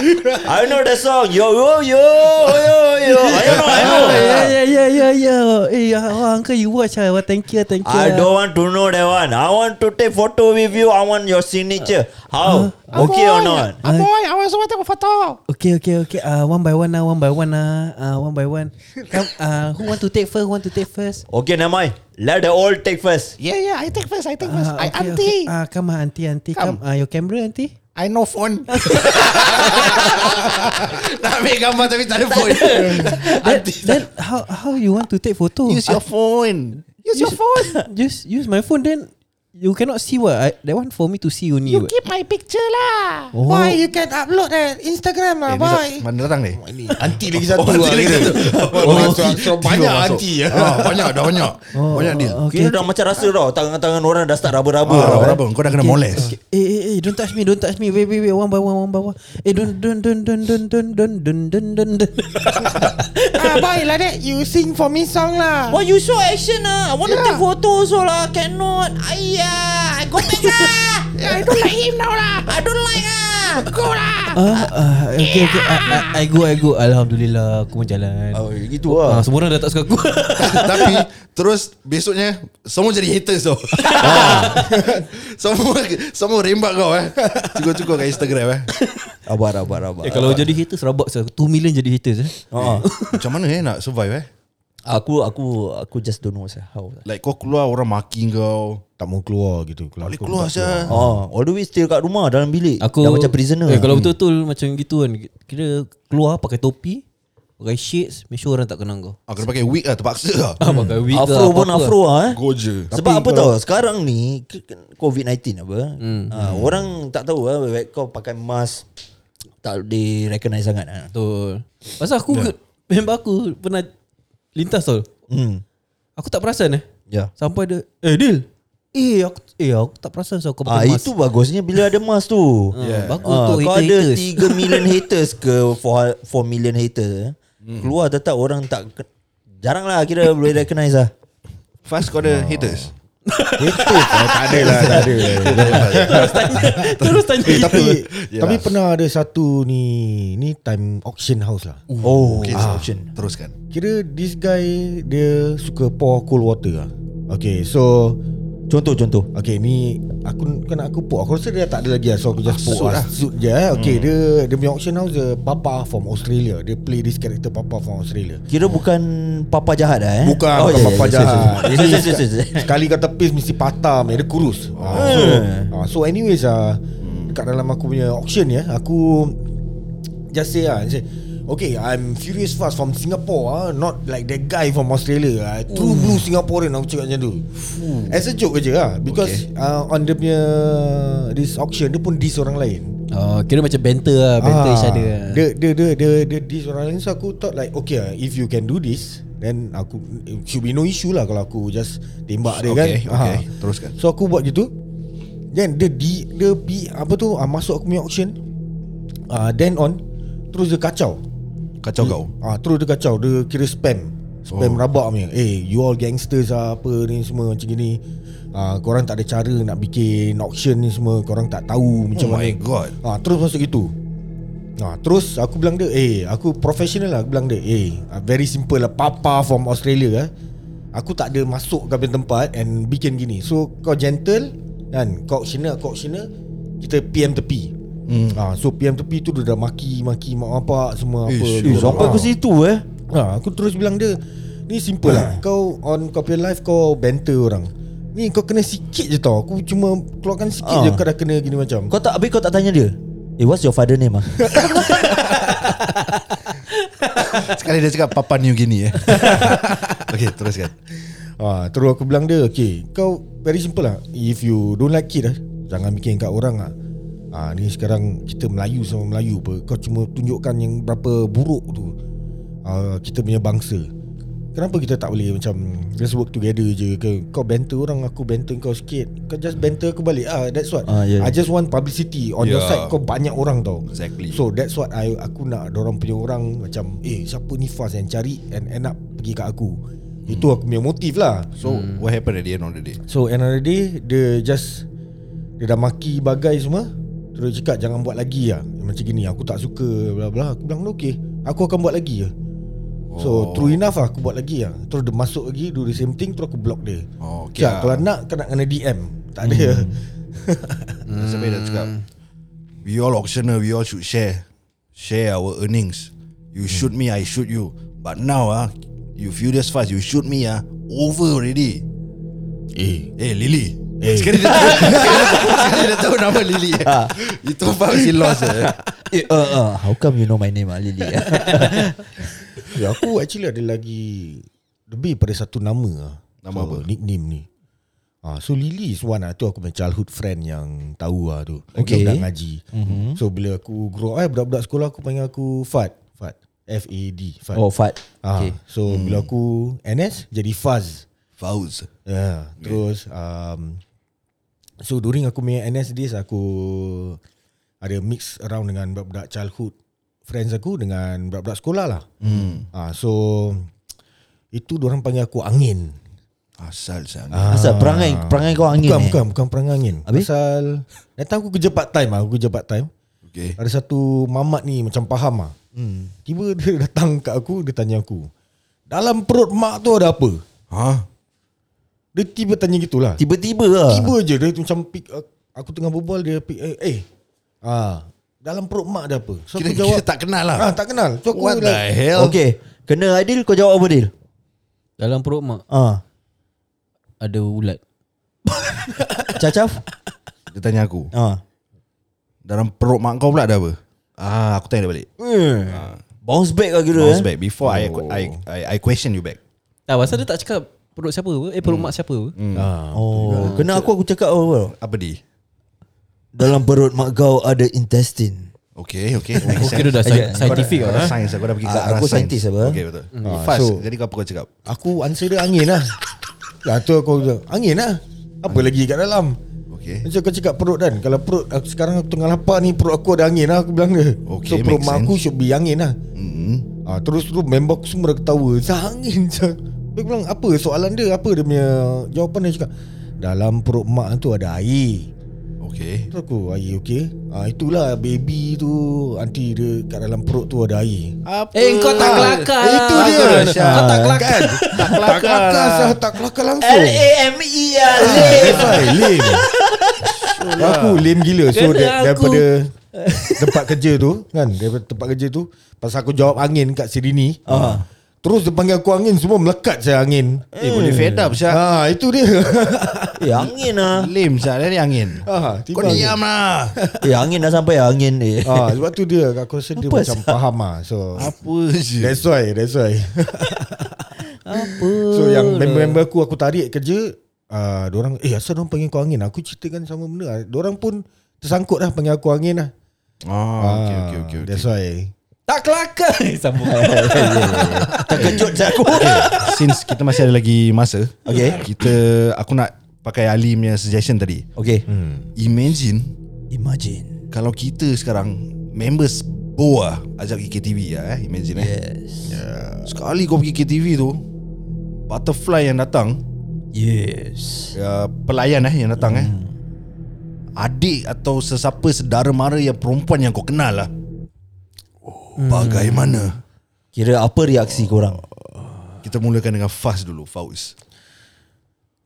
C: I know the song Yo yo yo yo
B: *laughs*
C: yo I know I know
B: yeah, yeah, yeah, yeah. Hey, uh, ya. uncle, you watch. Uh, well, thank you, thank you.
C: I don't want to know that one I want to take photo with you I want your signature How Okay or not
D: Uh,
B: Aboy, I also want to take a photo. Okay, okay, okay. Uh, one by one, uh, one by one, uh, uh, one by one. Come, uh, who want to take first? Who want to take first?
C: Okay never mind Let the old take first
D: Yeah yeah I take first I take
B: Uh, okay, Okay. Uh, come, uh, auntie, auntie. Come. come. Uh, your camera, auntie.
D: I know phone Nak ambil gambar tapi *laughs* tak ada phone *laughs*
B: Then, then how how you want to take photo? Uh,
D: Use your phone
B: use your phone. Just *laughs* use my phone. Then you cannot see what I, that one for me to see only. You
E: Keep my picture lah
B: Oh.
E: oh. Boy you can upload at Instagram
D: Eh,
E: lah eh,
D: ni
E: boy
D: sa- Mana datang ni? *laughs*
A: Anti lagi satu
D: Oh, aunty
A: lah
D: lagi *laughs*
A: kira.
D: satu.
A: Oh, so- so Banyak
D: Tiga masuk.
A: anti ya.
D: Ah, Banyak dah *laughs* banyak Banyak deal
B: Okay.
C: Kira dah macam rasa tau Tangan-tangan orang dah start raba-raba Eh?
D: Ah,
C: tau.
D: Rabang kau dah kena moles
B: Okay. Eh, eh, eh, don't touch me, don't touch me. Wait, wait, wait. One by one, one by one. Eh, don't, don't, don't, don't, don't, don't, don't, don't, don't, don't, don't.
E: ah, Boy like that you sing for me song lah
F: Why you so action ah? I want to take photo also lah. Cannot. Aiyah, I go back
B: *laughs*
F: ah.
E: I don't like him now lah
F: I don't like ah.
E: Go lah
B: Ah, ah, okay, okay. I, I, I go, I go. Alhamdulillah, aku pun jalan.
C: Oh, gitu lah
B: Ah, semua orang dah tak
C: *laughs*
B: suka aku.
D: *laughs* Tapi Terus besoknya Semua jadi haters tau Ah. *laughs* Semua Semua rembak kau eh Cukup-cukup kat Instagram eh
C: Abar abar abar
B: eh, kalau jadi haters, rabak saya. 2 million jadi haters. Eh.
C: Ha.
D: Macam mana eh nak survive eh
C: Aku aku aku just don't know sah how.
D: Like kau keluar orang maki kau
A: Tak mau keluar gitu. Keluar
D: Boleh
A: aku
D: keluar
A: tak
D: saja.
C: Oh, all the way stay kat rumah dalam bilik.
B: Aku
C: dah macam prisoner.
B: eh, Kalau betul-betul macam gitu kan Kira keluar pakai topi Pakai shades Make sure orang tak kenal kau
D: Ah, kena pakai wig lah terpaksa lah
B: ah, Pakai
C: Hmm.
B: wig ke,
C: afro pun
B: apa-apa
C: afro ah. Eh.
D: Goja
C: Sebab apa tahu sekarang ni k- k- COVID-19 apa.
B: Hmm.
C: Ha, orang tak tahu ah baik kau pakai mask tak di recognize sangat ah.
B: Betul Pasal aku
C: Ya.
B: yeah. Member aku pernah Lintas tau
C: Hmm.
B: Aku tak perasan eh
C: Ya.
B: Sampai dia Eh Dil Eh aku, eh, aku tak perasan so aku
C: Ah
B: pakai mask
C: itu bagusnya bila ada mask *laughs* tu.
B: Ah, Bagus
C: Ah,
B: tu
C: kau ada
B: haters
C: 3
B: *laughs*
C: million haters ke 4, 4 million hater eh?
B: Hmm.
C: Keluar tetap orang tak ke- Jarang lah kira boleh recognize lah
D: Fast kau ada haters *laughs*
A: keluar. Tak ada lah, tak ada.
B: Terus tanya *laughs* Terus tanya
A: Eh, tapi
D: Yelah.
A: tapi pernah ada satu ni ni time auction house lah.
C: Oh, okay,
D: Okay, ah.
C: option
D: Teruskan
A: Kira this guy dia suka pour cold water lah. Okay, so
C: Contoh contoh
A: Okay ni Aku kena aku pok Aku rasa dia tak ada lagi lah, So aku just pok lah Suit je eh. Okay hmm. dia Dia punya auction house dia Papa from Australia Dia play this character Papa from Australia
C: Kira bukan Papa jahat lah eh
A: Bukan oh, bukan
C: ya, ya,
A: papa
C: ya,
A: jahat *laughs*
C: sorry,
A: Ini
C: sorry. Sorry, sorry, sorry.
A: Sekali kau tepis Mesti patah man. Dia kurus Ah, so, ah, so anyways ah, Dekat dalam aku punya auction ya Aku Just say lah say, Okay I'm Furious Fast From Singapore ah, Not like that guy From Australia ah. True blue Singaporean Aku cakap macam tu As a joke je lah Because okay. uh, On dia punya This auction Dia pun diss orang lain
B: Oh, kira macam banter lah Banter each other lah.
A: Ah. dia, dia, dia, dia, dia, diss orang lain So aku thought like Okay lah If you can do this Then aku it Should be no issue lah Kalau aku just Tembak dia
D: Okay,
A: kan
D: okay.
A: Ah.
D: Teruskan.
A: So aku buat gitu Then dia di, Dia pi, Apa tu ah, Masuk aku punya auction ah, Then on Terus dia kacau
D: Kacau kau
A: ah, Terus dia kacau Dia kira spam Spam oh. rabak punya Eh you all gangsters lah Apa ni semua Macam gini ah, Korang tak ada cara Nak bikin auction ni semua Korang tak tahu
D: Oh
A: Macam
D: my
A: mana
D: god
A: ha, Terus masuk itu ha, Terus aku bilang dia Eh aku professional lah Aku bilang dia Eh ah, very simple lah Papa from Australia eh. Aku tak ada masuk ke punya tempat And bikin gini So kau gentle Kan Kau auctioner Kau auctioner Kita PM tepi hmm. ha, So PM tepi tu Dia dah maki Maki mak bapak Semua apa
D: Ish,
A: Dia
D: ish,
A: dah-
C: Sampai
A: ah.
C: ke situ eh
A: Ha, aku terus bilang dia Ni simple lah Kau on copy live Kau banter orang Ni kau kena sikit je tau Aku cuma keluarkan sikit
C: Ah.
A: je Kau dah kena gini macam
C: Kau tak Habis kau tak tanya dia Eh what's your
B: *laughs*
C: father name ah?
D: Sekali dia cakap Papa New Guinea eh *laughs* Okay teruskan
A: Ha, terus aku bilang dia Okay Kau very simple lah If you don't like it lah Jangan bikin kat orang lah ha, Ni sekarang Kita Melayu sama Melayu apa Kau cuma tunjukkan yang Berapa buruk tu ha, Kita punya bangsa Kenapa kita tak boleh macam Just work together je ke Kau banter orang Aku banter kau sikit Kau just banter aku balik ah, That's what
C: Ah, yeah.
A: I just want publicity On yeah. your
D: Yeah.
A: side Kau banyak orang tau
D: Exactly.
A: So that's what I Aku nak Diorang punya orang Macam Eh siapa ni fast yang cari And end up pergi kat aku
D: Hmm.
A: Itu aku punya motif lah
D: So what happened at the end of the day
A: So another day Dia just Dia dah maki bagai semua Terus dia cakap jangan buat lagi lah Macam gini aku tak suka bla bla Aku bilang okay Aku akan buat lagi lah So oh. true enough lah Aku buat lagi lah Terus dia masuk lagi Do the same thing Terus aku block dia
D: Oh, okay
A: Cakap,
D: lah.
A: Kalau nak kena kena DM Tak ada *laughs*
D: Sampai Hmm. dia cakap We all auctioner We all should share Share our earnings You shoot me I shoot you But now ah You furious fast You shoot me ah Over already Eh Eh Lily Eh. Ah. Sekali dia tahu *laughs* Sekali dia tahu nama Lily Itu faham si lost *laughs* eh.
C: eh, uh, uh, How come you know my name ah Lily
A: Ya aku actually ada lagi Lebih pada satu nama lah
D: Nama
A: so,
D: apa?
A: Nickname ni Ah, so Lily is one lah Tu aku punya childhood friend yang tahu lah tu
C: Okay.
A: Budak ngaji mm-hmm. So bila aku grow up eh, Budak-budak sekolah aku panggil aku Fad Fad F-A-D Fad
C: Oh Fat
A: ah, okay. So mm. bila aku NS jadi Faz
D: Fauz
A: yeah, Ya, Terus um, So during aku punya NS days Aku Ada mix around dengan budak-budak childhood Friends aku dengan budak-budak sekolah lah
D: hmm.
A: Ah, so itu orang panggil aku angin.
D: Asal sana
A: Ah,
C: Asal perangai Perangai kau angin
A: bukan,
C: eh?
A: bukan, bukan perang angin.
C: Habis?
A: Pasal datang aku kerja part time lah, aku kerja part time.
D: Okay
A: Ada satu mamat ni macam faham ah. Hmm. Tiba *laughs* dia datang kat aku, dia tanya aku. Dalam perut mak tu ada apa?
D: Ha?
A: Dia tiba tanya gitulah.
C: Tiba-tiba
D: Ah.
C: lah
A: Tiba je dia tu macam pick aku tengah berbual dia pick eh, eh ah dalam perut mak ada apa? So
D: Kira,
A: aku jawab
D: kira tak kenal lah
A: ah tak kenal. So aku
D: What the
A: like,
D: hell
C: Okay Kena Adil kau jawab apa Adil
B: Dalam perut mak
C: Ah,
B: Ada ulat
C: Cacaf
D: Dia tanya aku
C: Ah,
D: Dalam perut mak kau pula ada apa Ah, Aku tanya dia balik
C: Bounce back lah kira
D: Bounce
C: eh?
D: back Before I, I, I, I question you back
B: Tak Ah, pasal dia tak cakap Perut siapa apa? Eh perut mak siapa apa?
C: Oh, Kena aku aku cakap apa tau?
D: Apa di?
C: Dalam perut mak kau ada intestine
D: Okay, okay. Make
B: Oh, kira dah
D: sense.
B: sci- scientific
D: Kau
B: lah
D: dah
B: eh?
D: Sains, aku dah pergi ke
C: Ah,
D: arah
C: aku
D: sains.
C: scientist apa?
D: Okay, betul. Fast,
A: so-
D: jadi kau apa kau cakap?
A: Aku answer dia angin lah *laughs* Lah tu aku bilang, Angin lah Apa lagi kat dalam
D: Okay.
A: Macam kau cakap perut kan Kalau perut aku, Sekarang aku tengah lapar ni Perut aku ada angin lah Aku bilang dia
D: Okay,
A: So perut
D: make
A: mak
D: sense.
A: aku Should be angin lah
D: Hmm.
A: ha, Terus terus member aku semua dah ketawa *laughs* Zah angin Zah Dia bilang apa soalan dia Apa dia punya Jawapan dia cakap Dalam perut mak tu ada air
D: Okay.
A: Tu aku air okey ha, Itulah baby tu Nanti dia kat dalam perut tu ada air
D: Apa?
B: Eh kau tak kelakar lah.
A: Itu dia Ah.
B: Kau tak- Kau tak kelakar
D: Tak kelakar
A: kelakar
D: lah.
A: sah, Tak kelakar langsung
C: L-A-M-E lah
A: That's why lame Aku lame gila So
B: Kena
A: da-
B: aku.
A: daripada Tempat kerja tu Kan Daripada tempat kerja tu Pasal aku jawab angin kat Sirini uh. Terus dia panggil aku angin Semua melekat saya angin
D: Eh boleh
C: Hmm.
D: fed up Syah
A: Ha, itu dia. *laughs*
C: Eh angin lah
D: Lim Syah Dari angin
A: ha,
D: Kau diam lah
C: *laughs* Eh angin dah sampai ah, angin eh.
A: Ha, sebab tu dia aku rasa dia
C: Apa
A: macam
C: sah?
A: faham lah. So
D: Apa je
A: That's why That's *laughs* why
B: Apa
A: So yang member-member aku Aku tarik kerja uh, Diorang Eh asal diorang panggil aku angin Aku ceritakan sama benda lah. Diorang pun Tersangkut lah Panggil aku angin lah Ah,
D: Oh okay okay okay, okay.
A: That's why
B: Tak kelakar Sambung
C: Terkejut saya aku
D: Okay, since kita masih ada lagi masa,
C: Okay.
D: Kita aku nak pakai Ali punya suggestion tadi.
C: Okay
D: Imagine
C: Imagine
D: kalau kita sekarang members Boa ajak pergi KTV ya, eh. imagine eh.
C: Yes
D: Sekali kau pergi KTV tu, butterfly yang datang,
C: Yes
D: uh, pelayan eh yang datang eh. Adik atau sesiapa sedara mara yang perempuan yang kau kenal lah. Bagaimana?
C: Kira apa reaksi korang
D: Kita mulakan dengan Faz dulu, Fauz.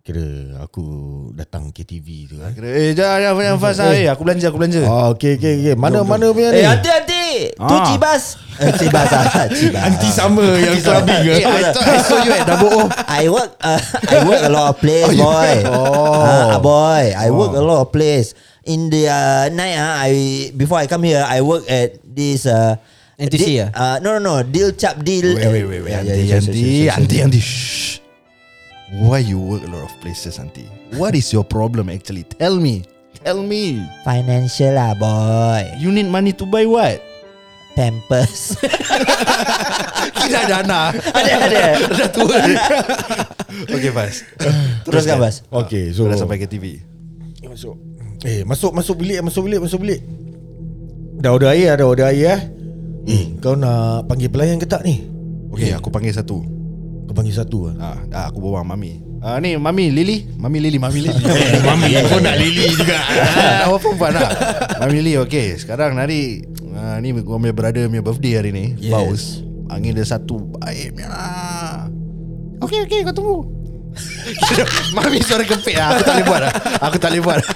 A: Kira aku Datang KTV tu kan
D: Kira, eh, jangan, jangan, jangan Faz. lah. Eh, aku belanja, aku belanja.
A: Oh, okay, okay, okay. Mana mana punya ni?
C: Eh hati-hati Tu
D: Ah.
C: cibas eh, Cibas ah *laughs* Cibas
A: Anti sama yang clubbing ke?
D: Eh, I thought I saw you at Double O. Oh,
C: I work uh, I work a lot of place boy Ah, boy I work a lot of place in the uh, night ah I before I come here I work at this uh,
B: NTC,
C: di-
B: ah?
C: uh, no no no deal chap deal
D: Wait, wait, wait, wait.
C: Yeah,
D: Auntie,
C: yeah, yeah, sure,
D: auntie,
C: sure, sure,
D: auntie,
C: sure.
D: auntie. Shh. Why you work a lot of places, auntie? What is your problem actually? Tell me. Tell me.
C: financial lah boy
D: You need money to buy what?
C: pampers *laughs*
D: Kita *laughs* ada anak.
C: ada ada
D: Dah tua. okay, *laughs* Faz.
C: teruskan bas
A: Okay, so
D: Kau dah sampai ke TV.
A: masuk. Eh, masuk masuk bilik, masuk bilik, masuk bilik. Dah order air, dah order air eh. Eh, kau nak panggil pelayan ke tak ni?
D: Okay, aku panggil satu.
A: Kau panggil satu lah.
D: Ah, dah aku bawa mami. Ah ni mami Lily, mami Lily, mami
A: *laughs*
D: Lily.
A: Mami, Eh, kau nak lili juga.
D: *laughs* ah, awak perempuan lah. Mami Lily, okay. Sekarang hari ah, ni gua punya brother punya birthday hari ni. Yes. Baus. Angin dia satu baik punya lah. Okay, okay, kau tunggu. *laughs* Mami suara kepek lah. Aku tak boleh buat lah. Aku tak boleh buat lah.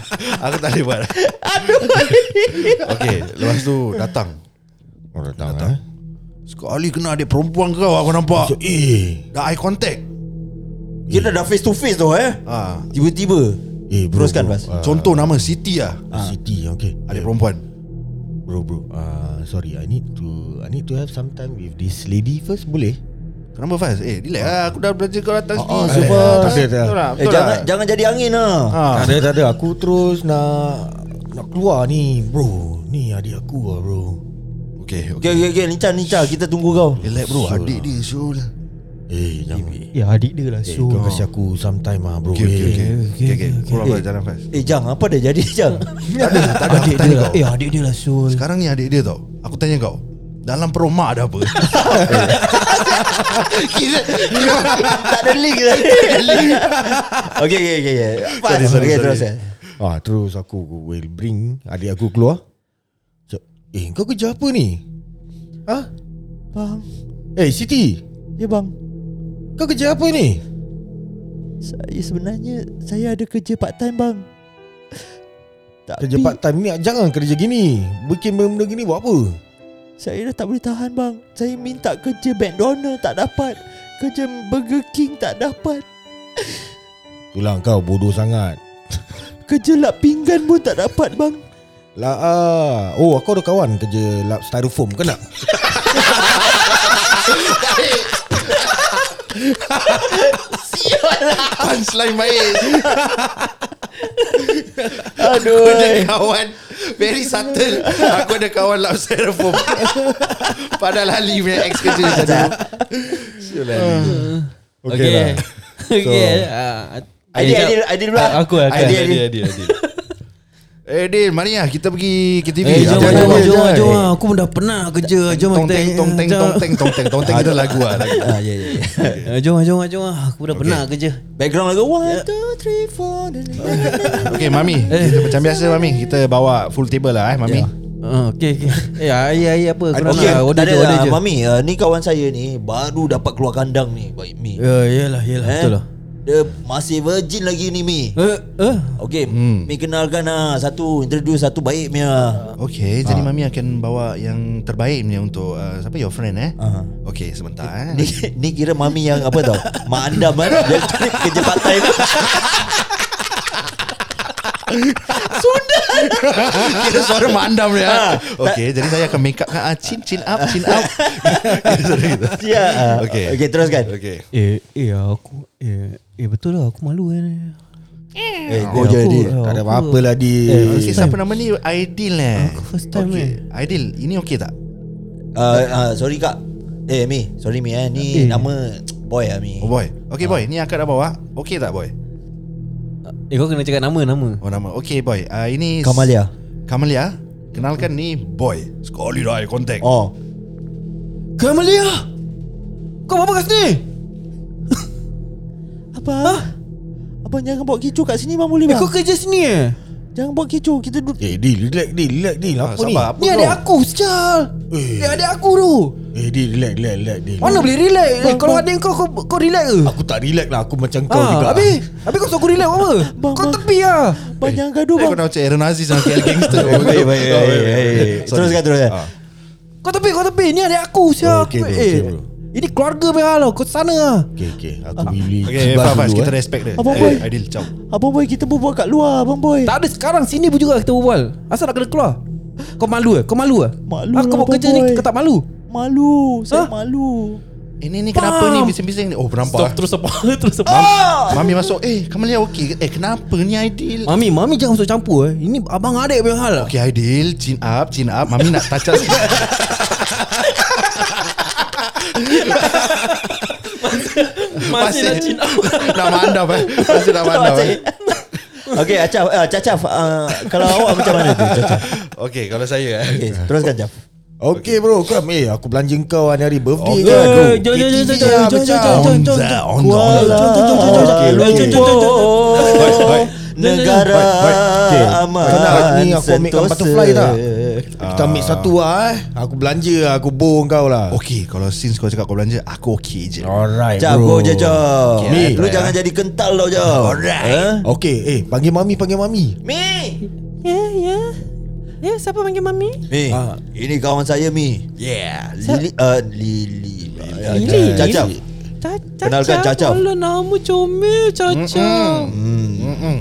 D: Aku tak boleh buat lah. Aduh. Okay, lepas tu datang.
A: Oh, datang, datang. Eh?
D: Sekali kena adik perempuan kau aku nampak.
A: So, eh,
D: Dah eye contact.
C: kita dah face to face tu eh
D: Ah,
C: tiba-tiba
A: eh bro,
C: Teruskan,
A: bro.
C: Bas.
A: Ah,
D: contoh nama Siti lah.
A: Siti, okay.
D: Adik perempuan.
A: Bro, bro. Uh, sorry, I need to I need to have some time with this lady first, boleh?
D: Kenapa Faz? Eh, relax lah. Aku dah belajar kau datang sini.
C: oh,
D: Relax
C: super.
D: lah.
A: Tak ada, tak ada.
D: Betul lah,
C: eh
D: betul
C: jangan
D: lah.
C: jangan jadi angin lah
D: Ah.
A: Tak ada, tak ada. Aku terus nak nak keluar ni, bro. Ni adik aku lah, bro.
D: Okay, okay.
C: Okay, okay, okay. Lincah, lincah. Kita tunggu kau.
D: Relax bro, adik dia Syul.
A: Eh, jangan.
B: Ya adik dia lah
A: Eh, kau kasih aku some time lah, bro.
D: Okay, okay,
A: eh.
D: okay. Okay, okay. Korang okay. jangan Faz.
C: Eh, Jang, apa dah jadi, Jang?
D: Tak ada, tak ada. Aku
B: Adik dia
D: tanya
B: lah
D: kau.
B: Eh adik dia lah Sul
D: Sekarang ni adik dia tau. Aku tanya kau. Dalam perut mak ada apa? *laughs*
C: Kira, kira tak ada link
E: *laughs*
C: lah. okay, okay, okay. okay. Pas.
D: Sorry, sorry,
C: okay,
D: sorry.
C: terus. eh.
A: Ah, terus aku will bring adik aku keluar. Cak, eh, kau kerja apa ni? Ha?
E: Bang,
A: Eh, Siti,
E: ya bang.
A: kau kerja apa ni?
E: Saya ya, sebenarnya saya ada kerja part time bang. Tapi
A: Kerja part time ni jangan kerja gini. Bikin benda-benda gini buat apa?
E: Saya dah tak boleh tahan bang. Saya minta kerja McDonald tak dapat. Kerja Burger King tak dapat.
A: Itulah kau bodoh sangat.
E: Kerja lap pinggan pun tak dapat bang.
A: Lah ah. Oh, aku ada kawan kerja lap styrofoam kena.
B: Hmm.
D: Punchline baik.
C: Aduh.
D: Aku ada kawan Very subtle Aku ada kawan lap styrofoam Padahal Ali punya ex kerja dia tadi
B: Okay *laughs* Okay ah,
C: Adik,
B: Jap.
C: adik, adik pula.
E: lah.
B: Ah, Aku aku
C: Adik, adik.
D: Adi, Adi. Eh Din, mari lah kita pergi KTV.
B: Eh jom jom
A: Jom, jom,
B: jom
A: jom.
B: jom Aku pun dah penat kerja Jom
D: Tong
B: kita-
D: teng tong teng
B: jom.
D: tong teng tong teng tong teng kita lagu ah. lagu.
C: Ah, ya, ya, ya.
B: Eh, Jom jom jom Aku dah penat kerja
C: Background lagu One, two
D: Okay Mami, kita macam biasa Mami, kita bawa full table lah eh Mami.
B: Ah, Okey okey *laughs* Eh air air apa Korang
C: Okay,
B: nak order je
C: tak ada
B: order je
C: lah Mami uh, Ni kawan saya ni Baru dapat keluar kandang ni Baik Mi Eh,
B: Ya yelah yelah Betul lah
C: Dia masih virgin lagi ni Mi
B: Eh eh
C: Okay Mi kenalkan lah Satu Introduce satu baik Mi lah
D: Okay, jadi Mami akan bawa yang terbaik punya untuk uh, siapa your friend eh. Okay, sebentar
C: Ni, *laughs*
D: eh.
C: ni kira mami yang apa tau Mak anda man Dia *laughs* cari kerja part time
D: Kita suara mandam
C: Ah.
D: dia. Okay, jadi saya akan make up kan ah, chin chin up chin up.
C: Ya
D: Okay.
C: Okay teruskan
D: Okay.
B: Eh eh aku Eh eh betul lah aku malu kan
C: Eh go je
B: Oh, aku-
C: dia
A: Tak ada
B: aku-
A: apa-apa lah
B: Eh,
A: dia
D: Okay, siapa nama ni Aidil eh?
B: Aku first time,
D: okay. Aidil, ini okay tak?
C: uh, uh, Sorry kak Eh Mi Sorry Mi eh Ni
B: Eh.
C: nama Boy lah Mi
D: Oh boy. Okay boy, ni akak dah bawa. Okay tak boy?
B: Eh kau kena cakap nama nama
D: Oh nama. Okay boy. Uh, ini s-
C: Kamalia
D: Kamalia. Kenalkan ni boy. Sekali dah I contact.
C: Oh
B: Kamalia Kau apa kat sini
E: Apa? Ha? Abang jangan buat kecoh kat sini bang boleh
B: Eh
E: bang?
B: kau kerja sini eh
E: Jangan buat kecoh. Kita duduk.
A: Eh Dil relax Dil relax lah. Dil
D: Ah,
A: Apa ni
D: sabar, apa
B: Ni
D: kau?
B: adik aku Sial
A: Eh.
B: Dia adik aku tu
A: Eh Dil relax relax relax Dil
B: Mana boleh relax eh, Kalau adik kau kau, kau relax ke
A: Aku tak relax lah Aku macam kau juga
B: Ah, habis Habis kau suruh aku relax apa
E: Bang,
B: Kau
E: bang.
B: tepi lah
E: Bang jangan gaduh
D: Eh,
E: bang.
D: kau nak macam Aaron Aziz Macam El
A: *laughs*
D: Gangster
C: Eh, baik, baik, baik, baik, baik.
D: Sorry.
C: Teruskan, teruskan.
D: Ah.
B: Kau tepi kau tepi Ni adik aku sial
A: Okay,
B: Aku-
A: bro,
B: eh,
A: okay, bro.
B: Ini keluarga punya hal tau. Kau sana lah
A: Okay okay Eh, Aku pilih
D: Okay
A: Kibas
D: Fah Fah
A: dulu,
D: Kita
A: eh.
D: respect dia
E: Abang
D: Eh,
E: boy.
D: Aidil ciao
E: Abang boy kita berbual kat luar abang
A: Eh.
E: boy.
B: Tak ada sekarang Sini pun juga kita berbual Asal nak kena keluar Kau malu eh Kau malu eh
E: Malu
B: Aku
E: lah,
B: buat kerja
E: boy.
B: ni Kau tak malu
E: Malu. Saya
B: Ha?
E: malu.
D: Eh ni ni kenapa
B: Bam.
D: ni Bising-bising ni Oh nampak
B: terus apa *laughs* Terus apa
D: ah. Mami masuk Eh Kamalia okey ke? Eh kenapa ni Aidil
B: Mami Mami jangan masuk campur eh Ini abang adik punya hal lah
D: Okay Aidil Chin up Chin up Mami nak touch up
B: *laughs*
D: sikit
B: Masih nak cina
D: *laughs* Nak mandap eh Masih nak mandap eh
C: Okay Acaf uh, Cacaf uh, Kalau
A: *laughs*
C: awak macam mana tu Cacaf
D: Okay kalau saya eh
C: Okay teruskan Cacaf
A: Okay bro kau, Eh aku belanja kau hari-hari birthday
D: Okay,
A: kan bro.
B: Eh, jom, jom, jom,
A: KTV
B: jom,
A: lah,
B: jom, jom,
A: macam.
B: jom, jom.
D: Onza Onza
A: Okey, okey.
B: Baik,
C: Oh
B: baik.
C: Negara
A: Baik, baik. Okey.
C: aman
A: Kau nak ni aku ambilkan butterfly tak? Kita ambil satu lah eh Aku belanja lah Aku bohong kau lah
D: Okay kalau since kau cakap kau belanja Aku okay je
A: Alright
C: Cap go je Cap
A: Mi.
C: Lu jangan jadi kental tau Cap Alright eh?
A: Okay eh Panggil mami panggil mami
C: Mi
F: Ya, ya. Ya, siapa panggil mami?
C: Mi
A: Ah.
C: Ini kawan saya Mi Yeah Lili uh, Lili Ah,
F: Lili.
C: Cacaf
F: Ca-
A: kan,
C: Kenalkan Cacaf.
F: Alah, Oh, lah, nama comel Caca.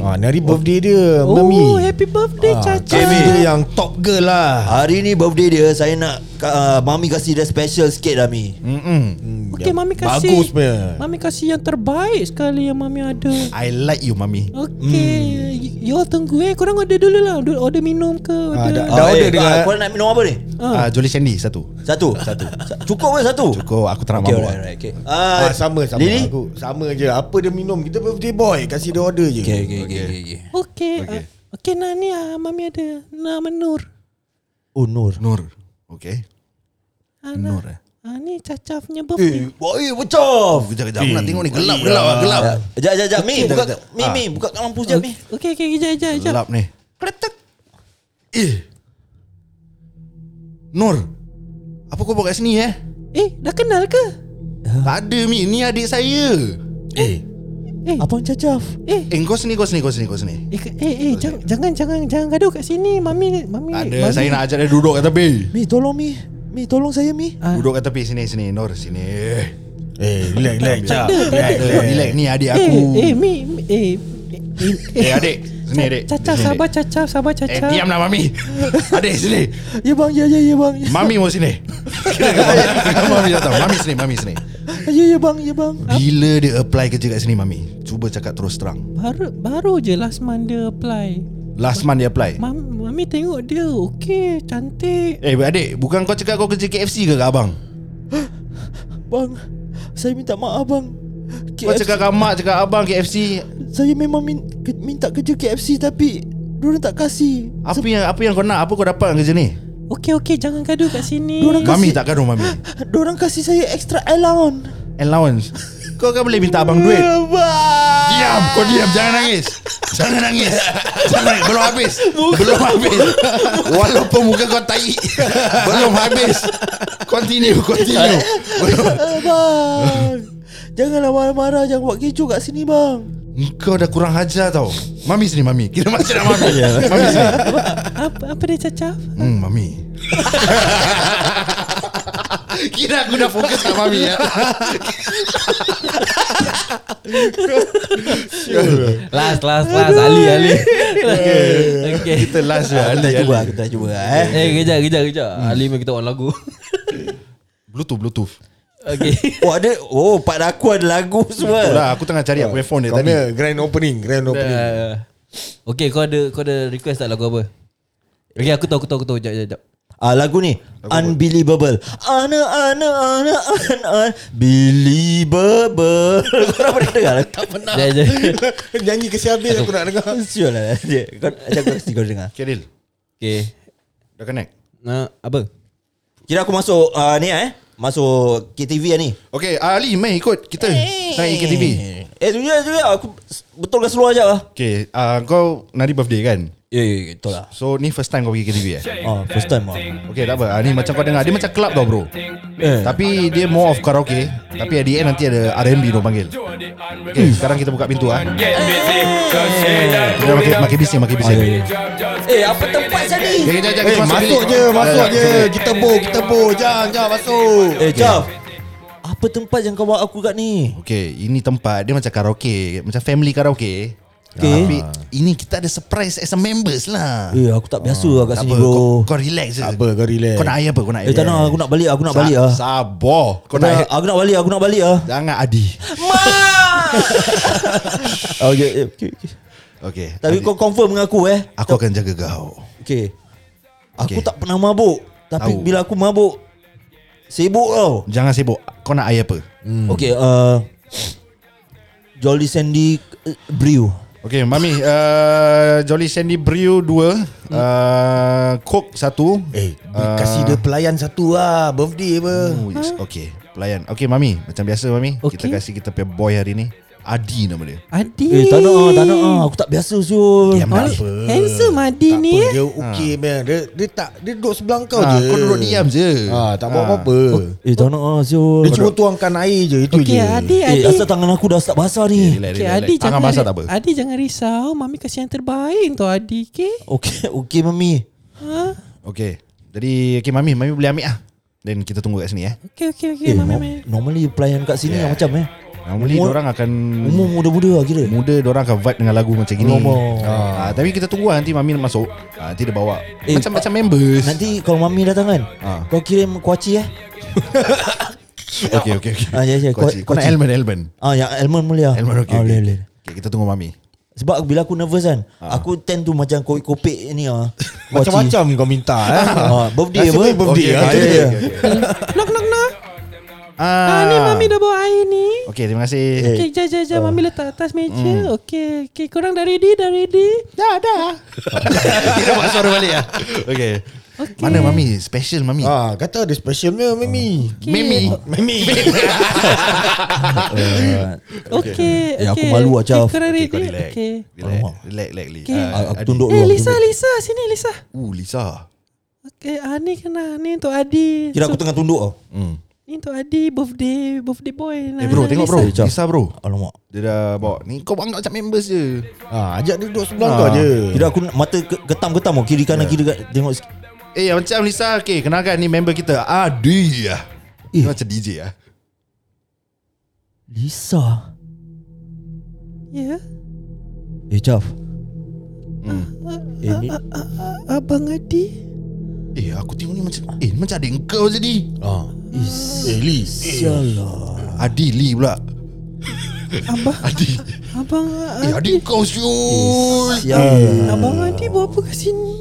A: Ah, ni hari birthday dia
F: Oh,
A: Mami Ah,
F: happy birthday
A: Kau
F: Caca.
C: Jamie.
A: dia yang top girl lah
C: Hari ni birthday dia Saya nak uh, Mami kasih dia special sikit lah Mi
A: Hmm.
D: Mm-mm.
F: Okey,
A: Yang
F: mami kasih.
A: Bagus punya
F: Mami kasih yang terbaik sekali yang mami ada.
A: Hmm.
D: I like you Mami
F: Okey, y- you all tunggu eh. Korang order dulu lah. Order, order minum ke?
A: Ah, dah,
F: Order.
A: dah
C: Ah,
A: order
C: eh,
A: dia
C: ah, Kau nak minum apa ni?
D: Ah, Jolie Sandy satu
C: Satu Satu Sa- Cukup ke satu?
D: Kau aku tak nak
C: Okay
D: mabuk
C: alright, alright okay.
A: Ah,
C: Ah,
A: sama sama
C: Lily?
A: aku sama je apa dia minum kita birthday boy kasih dia order je
C: Okay, okay, okay, okay, okay.
F: Okey. ah, Okey, nah ni ah, mami ada nama Nur.
C: Oh Nur
D: Nur Okay
F: Ah,
D: Nur
F: nah.
D: eh
F: Ah, ni Caca punya birthday.
C: Oi, Eh, pecah.
D: Kejap kejap aku nak tengok ni gelap gelap
C: eh,
D: ah, gelap.
C: Sekejap, sekejap, sekejap. Mi,
D: Okey.
C: buka, Mi,
D: Sekejap,
E: Ah.
D: sekejap.
C: Mi, buka kat lampu sekejap, Mi.
F: Okey, okey, kejap, kejap, kejap.
D: Gelap ni.
F: Kretek.
D: Eh. Nur. Apa kau buat kat sini eh?
F: Eh, dah kenal ke?
D: Tak ada Mi, ni adik saya.
A: eh
F: Eh,
E: Abang cacaf.
D: Eh kau sini kau sini kau sini kau sini.
F: eh, ke- eh, eh jangan, jangan, jangan, jangan gaduh kat sini. Mami, mami.
D: Tak ada,
F: mami.
D: saya nak ajak dia duduk kat tepi.
E: Mi tolong mi. Mi tolong saya mi.
F: Ah.
D: Duduk kat tepi sini sini Nur sini.
A: eh relax relax cap relax relax
D: Relax ni adik
F: Eh,
D: aku.
F: eh, mi, mi eh, eh, eh,
D: *laughs* Eh adik, sini adik.
F: Caca,
D: Sini,
F: sabar
D: adik.
F: Caca, sabar Caca.
D: Eh diamlah *laughs* mami. Adik sini.
E: Ya bang, ya ya ya bang.
D: Mami mau sini. Kira kata mami datang. Mami sini, mami sini.
E: Ya ya bang, ya bang.
D: Bila dia apply kerja kat sini mami? Cuba cakap terus terang.
F: Baru baru je last month dia apply.
D: Last month dia apply.
F: Mam, mami tengok dia, okey, cantik.
D: Eh adik, bukan kau cakap kau kerja KFC ke kat abang?
E: Bang, saya minta maaf bang.
D: Kau
E: KFC,
D: cakap kat mak, cakap abang KFC
E: saya memang min, ke, minta kerja KFC tapi Diorang tak kasih
D: Apa yang apa yang kau nak? Apa kau dapat dengan kerja ni?
B: Okey okey jangan gaduh kat sini.
E: Diorang
D: Mami
E: kasih
D: tak gaduh mami.
E: Diorang kasih saya extra allowance
D: Allowance. Kau kan boleh minta abang duit. Diam, kau diam. Jangan nangis. Jangan nangis. Jangan nangis. Belum habis. Belum habis. Walaupun muka kau tai. Belum habis. Continue, continue. Belum.
E: Eh, Bang Janganlah marah-marah Jangan buat kecoh kat sini bang
D: Kau dah kurang hajar tau. Mami sini, mami. Kira masih nak mami. mami sini.
B: Apa apa dia cacah?
D: Hmm, mami. Kira aku dah fokus kat mami ya.
B: Last last last Ali *laughs* Ali. Okey.
D: Kita last ya.
C: Kita cuba Kita cuba eh
B: Eh kejap kejap kejap. Ali mari kita on lagu. *laughs*
D: Bluetooth, Bluetooth.
B: Okey.
C: Oh ada Oh part aku ada lagu
D: Betul
C: semua
D: lah, aku tengah cari aku punya phone dia
A: Kau
D: tadi.
A: punya grand opening Grand opening
B: *laughs* Uh, Okey kau ada kau ada request tak lagu apa? Okey aku tahu aku tahu aku tahu jap jap jap.
C: Ah lagu ni unbelievable. Ana ana ana ana *laughs* unbelievable. Kau orang pernah dengar? Tak pernah.
B: Jap
C: *laughs*
B: jap.
A: Nyanyi ke habis aku nak dengar
C: Sial lah dia. Kau macam kau mesti kau dengar.
D: Keril,
B: Okey.
D: dah connect.
B: Nah, apa?
C: Kira aku masuk uh, ni eh. Masuk KTV lah ni.
D: Okay, ah, Ali, main ikut kita naik EKTV.
C: Eh tu je tu je aku s- betul ke seluar ajak ah.
D: Okay, uh, kau nari birthday kan?
C: Ya ya ya, betul lah.
D: So ni first time kau pergi KTV eh?
C: Oh first time ah.
D: Okay, tak apa. Ah, ni macam kau dengar. Dia macam club tau bro. Eh. Tapi dia more of karaoke. Tapi at the end nanti ada R&B dia panggil.
A: Hmm.
D: Okay, sekarang kita buka pintu ah. Kita makin, makin bising, makin bising.
C: Eh apa tempat tadi?
D: Okay, kejap,
A: Oh, ya, Eh
D: kejap. kita
A: masuk
D: bilik.
A: je Masuk
D: Ah,
A: je
D: bilik.
A: Kita bo Kita bo Jangan Jangan masuk
C: Eh jap. Apa tempat yang kau bawa aku kat ni?
D: Okay, ini tempat dia macam karaoke. Macam family karaoke. Ah,
C: Okay.
D: Tapi ini kita ada surprise as a members lah.
C: Eh aku tak biasa lah kat
D: Tak
C: sini
D: apa,
C: bro.
D: Kau, kau relax je.
A: Tak apa, kau relax.
D: Kau nak air apa? Kau nak air?
C: Eh tak nak aku nak balik aku nak balik ah.
D: Sabar.
C: Aku
D: Kau nak
C: nak,
D: air?
C: aku nak balik aku nak balik ah.
D: Jangan Adi.
C: Oh, okay, okay, okay.
D: Okay.
C: Tapi
D: Adi,
C: kau confirm dengan aku eh
D: Aku akan jaga kau.
C: Okay Aku
D: Okay.
C: tak pernah mabuk Tapi
D: Tahu.
C: bila aku mabuk Sibuk tau
D: Jangan sibuk. Kau nak air apa?
C: Okay uh, Jolly Sandy uh, Brew
D: Okay, Mami. Uh, Jolly Sandy Brew
C: Hmm.
D: 2. Uh, Coke 1.
A: Eh beri- Kasih dia pelayan satu lah Birthday apa
D: Okay. Pelayan. Okay, Mami. Macam biasa, Mami.
B: Okay.
D: Kita kasih kita punya boy hari ni. Adi nama dia.
B: Adi.
C: Eh tak nak ah, tak nak ah. Aku tak biasa siul
D: Diam tak apa.
B: Handsome Adi
A: Tak
B: ni.
F: eh?
B: eh.
A: apa Dia okey man Dia dia tak Dia duduk sebelah kau
D: Ah,
A: je
D: kau duduk diam je.
A: Ah, Tak buat apa-apa
C: Eh tak nak ah siul
A: Dia cuma tuangkan air je Itu
B: Okey
A: je
B: Adi
C: Eh
B: Adi.
C: asal tangan aku dah start basah ni
D: Relax,
B: Okey
D: relax,
B: Adi
D: relax. Tangan basah tak apa.
B: Adi jangan risau, mami kasi yang terbaik untuk Adi, okey?
C: *laughs* Okay okay mami
B: Ha?
D: Okay. Jadi, okay, Mami. Mami boleh ambil lah. Then kita tunggu kat sini eh.
B: Okey okey okey,
C: Eh
B: mami
C: no,
B: mami.
C: normally pelayan kat sini yeah. macam eh
D: Normally,
C: Umur-
D: orang akan...
C: Umur muda-muda lah kira
D: muda orang akan vibe dengan lagu macam gini.
C: Alamak.
D: Ah, tapi kita tunggu lah nanti mami masuk. Ah, nanti dia bawa.
C: Eh,
D: macam macam members.
C: Nanti kalau mami datang kan
D: Ha.
C: Kau kirim kuaci eh
D: Okey okey okey.
C: Ah, ya, ya,
D: Kau,
C: kau-
D: kau
C: kau-
D: nak Elman Elman.
C: Ah yang almond mulia
D: Elman okey.
C: ah,
D: okey.
C: boleh, boleh.
D: Okey, kita tunggu mami.
C: Sebab bila aku nervous kan Aku tend to macam kopik-kopik ni
A: Ah.
C: ah.
A: *laughs* Macam-macam kau minta eh.
C: Ah, birthday
A: Nasib
C: apa?
A: baik birthday
C: Okey,
A: ah.
C: okey,
A: Itu dia.
C: okey,
B: Knock knock knock.
D: Ah. Eh.
B: Ah, ni mami dah bawa air ni.
D: Okey, terima kasih.
F: Eh.
D: *laughs*
B: Okey, jap jap jap mami letak atas meja. Okey, okey korang dah ready, dah ready.
D: kita buat suara balik ah. Okey.
B: Okey.
D: Mana mami? Special mami.
A: Ah, kata ada specialnya Mimi.
D: Mimi.
A: Mami.
B: Okey,
C: Eh, aku
B: okey.
C: malu lah, Jaf.
B: Okey, korang
D: Okey,
B: ready?
D: kau relax.
B: Okey.
D: Relax, relax, relax, Li.
B: Okey.
D: Ah,
C: Ah, Aku
D: Adi.
C: tunduk
B: Eh
C: dulu
B: Lisa, Lisa, sini Lisa.
D: Uh, Lisa.
B: Okey, ah ni kena ni untuk Adi.
C: Kira aku tengah tunduk ah. tau
B: Ni untuk Adi birthday birthday boy. lah. Ya.
D: Eh bro, tengok bro.
C: Lisa.
D: Lisa bro.
C: Alamak
D: Dia dah bawa. Ni kau anggap macam members je.
A: Ah, ajak dia duduk sebelah kau je. Ya.
C: Kira aku nak- mata ke- getam-getam tau Kiri kanan kiri kanan Tengok sikit
D: Eh macam Lisa Okay kenalkan ni member kita Adi ah.
C: Eh.
D: Dia Macam DJ ah.
C: Lisa
B: Ya.
C: Eh Jaf
D: Hmm.
C: Eh ni
B: Abang Adi.
D: Eh aku tengok ni macam Eh macam adik kau je ni
A: Ah. Eh, Li.
C: Sialah
D: Adi Lee pula
B: Abang
D: *laughs* Adi
B: abang ah,
D: Eh adik kau
A: Eh.
D: siul
C: Sialah
B: abang Adi buat apa kat sini?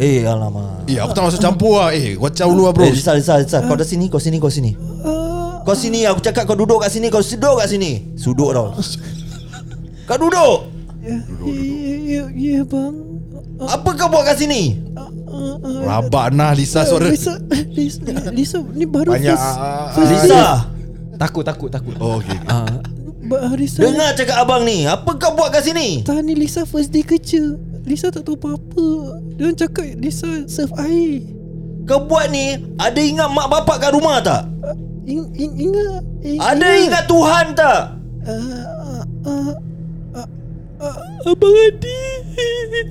C: Eh alamak
D: Eh aku tak masuk campur lah Eh kacau lu lah bro
C: Eh Lisa Lisa Lisa Kau dah sini kau sini kau sini
B: Ah,
C: Kau sini aku cakap kau duduk kat sini Kau duduk kat sini Suduk tau Kau duduk
B: ya, ya, ya, ya bang.
C: Apa kau buat kat sini?
D: Rabak nah
F: Oh,
D: Lisa suara
B: Lisa, Lisa, Lisa ni baru
A: Banyak
B: first,
A: ah,
B: first day.
C: Lisa
B: Takut, takut, takut.
D: Oh okay
B: Ah, ba- Lisa,
C: Dengar cakap abang ni Apa kau buat kat sini?
B: Tahan ni Lisa first day kerja. Lisa tak tahu apa-apa. Dia orang cakap Lisa serve air.
C: Kau buat ni Ada ingat mak bapak kat rumah tak?
B: Ing, ing, ingat, ing,
C: Ada ingat Tuhan tak?
B: Abang Adi.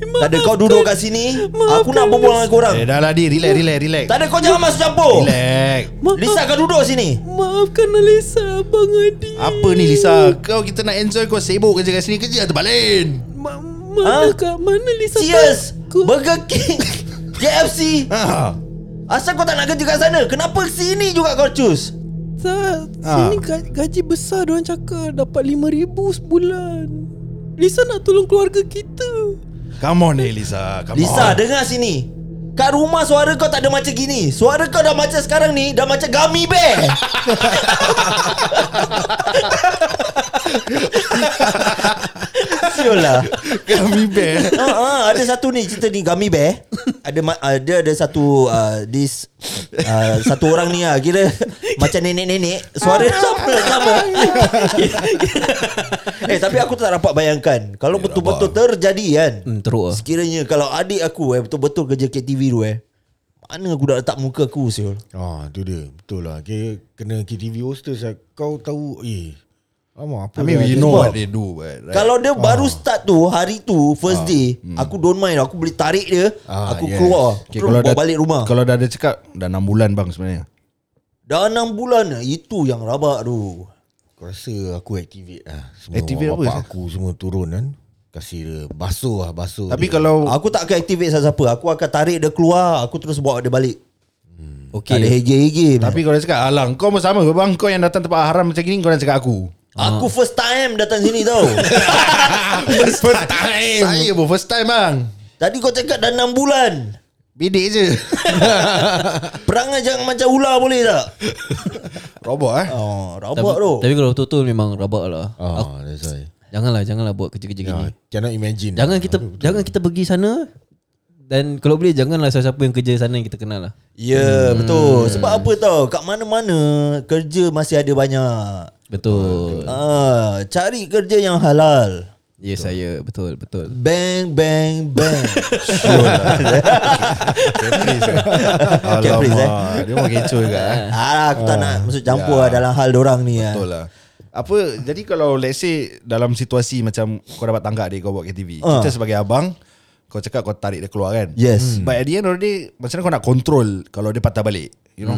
C: Tak ada kau duduk kat sini Aku nak berbual dengan korang
D: Eh dah lah di Relax relax relax
C: Tak ada kau jangan masuk campur
D: Relax
C: Lisa kau duduk sini
B: Maafkan Lisa, Abang Adi.
D: Apa ni Lisa Kau kita nak enjoy Kau sibuk kerja kat sini Kerja terbalik lain
B: Ma- mana
C: Ah?
B: ha? mana Lisa?
C: Cheers
B: Ku-
C: Burger King *laughs* KFC
D: ha.
C: Asal kau tak nak kerja kat sana Kenapa sini juga kau choose?
B: Tak,
D: Ah.
B: sini gaji, gaji besar diorang cakap dapat RM5,000 sebulan. Lisa nak tolong keluarga kita.
D: Come on eh Lisa Come
C: Lisa
D: on
C: dengar sini Kat rumah suara kau tak ada macam gini Suara kau dah macam sekarang ni Dah macam gummy bear Siul lah
D: *laughs* Kami bear
C: Ah, ah, ada satu ni cerita ni Gummy Bear. Ada ma- uh, dia ada satu uh, this uh, satu orang ni ah kira macam nenek-nenek suara sama sama. eh tapi aku tak dapat bayangkan kalau betul-betul terjadi kan.
B: Hmm, teruk ah.
C: Sekiranya kalau adik aku eh betul-betul kerja KTV tu eh. Mana aku dah letak muka aku siul.
A: Ah, tu dia. Betul lah. Okay, kena KTV hostess lah. Kau tahu, eh. Amak, apa
D: I mean
A: dia ada
D: we know
A: buat?
D: what they do but, right? Ah. Hmm.
C: Kalau dia baru start tu hari tu first day aku don't mind aku boleh tarik dia
D: Ah,
C: aku
D: yes.
C: keluar
D: Okay,
C: Terus
D: kalau
C: bawa
D: dah,
C: balik rumah.
D: Kalau dah ada cakap Dah 6 bulan bang sebenarnya
C: Dah enam bulan eh, Itu yang rabak tu
A: Aku rasa aku activate lah. Semua
D: Activate
A: activate
D: apa,
A: bapak
D: Zah?
A: aku semua turun kan. Kasih dia basuh lah, basuh.
D: Tapi
A: dia.
D: kalau
C: Aku tak akan activate siapa-siapa Aku akan tarik dia keluar Aku terus bawa dia balik okay. Tak ada
B: Okey.
C: hege-hege
D: Hmm. Tapi kalau dia cakap Alang kau pun sama ke bang Kau yang datang tempat haram macam gini Kau nak cakap
C: *laughs*
D: aku
C: Aku
D: Ah.
C: first time datang sini tau
D: *laughs* First time eh, Saya pun first time bang
C: Tadi kau cakap dah 6 bulan
D: Bidik
C: *laughs*
D: je
C: Perangai jangan macam ular boleh
D: *laughs*
C: tak?
D: Robot eh
C: Oh,
B: Tapi,
C: rabak tu
B: tapi kalau betul-betul memang rabak lah. Aku,
A: Ah, that's why.
B: janganlah, janganlah buat kerja-kerja gini.
A: Ah, cannot imagine.
B: Jangan kita jangan kita pergi sana dan kalau boleh janganlah siapa-siapa yang kerja sana yang kita kenal lah.
C: Ya yeah, betul Sebab apa tau Kat mana-mana Kerja masih ada banyak
B: Betul.
C: Ah, Cari kerja yang halal
B: Ya yes, saya betul betul.
C: Bang bang bang *laughs* Caprice, eh?
D: eh. Alamak Dia mau kecoh juga
C: *laughs*
D: eh
C: ah, Aku tak nak Maksud campur lah Dalam hal dorang ni ah.
D: Betul lah apa jadi kalau let's say dalam situasi macam kau dapat tangga adik kau buat KTV uh.
C: Ah.
D: kita sebagai abang kau cakap kau tarik dia keluar kan
C: Yes.
D: but at the end of the day macam mana kau nak control kalau dia patah balik you know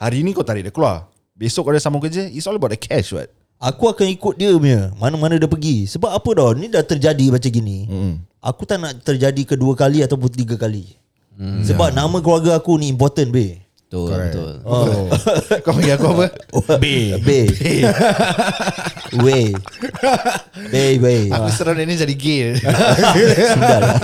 D: hari ni kau tarik dia keluar besok kau ada sambung kerja it's all about the cash what
C: Aku akan ikut dia punya Mana-mana dia pergi Sebab apa dah Ni dah terjadi macam gini mm. Aku tak nak terjadi kedua kali Ataupun tiga kali mm. Sebab yeah. nama keluarga aku ni important be
B: Betul Correct. betul.
D: oh. *laughs* kau panggil aku apa
C: B B Way Bay bay
D: aku seram dia ni jadi gay
C: *laughs* Sudahlah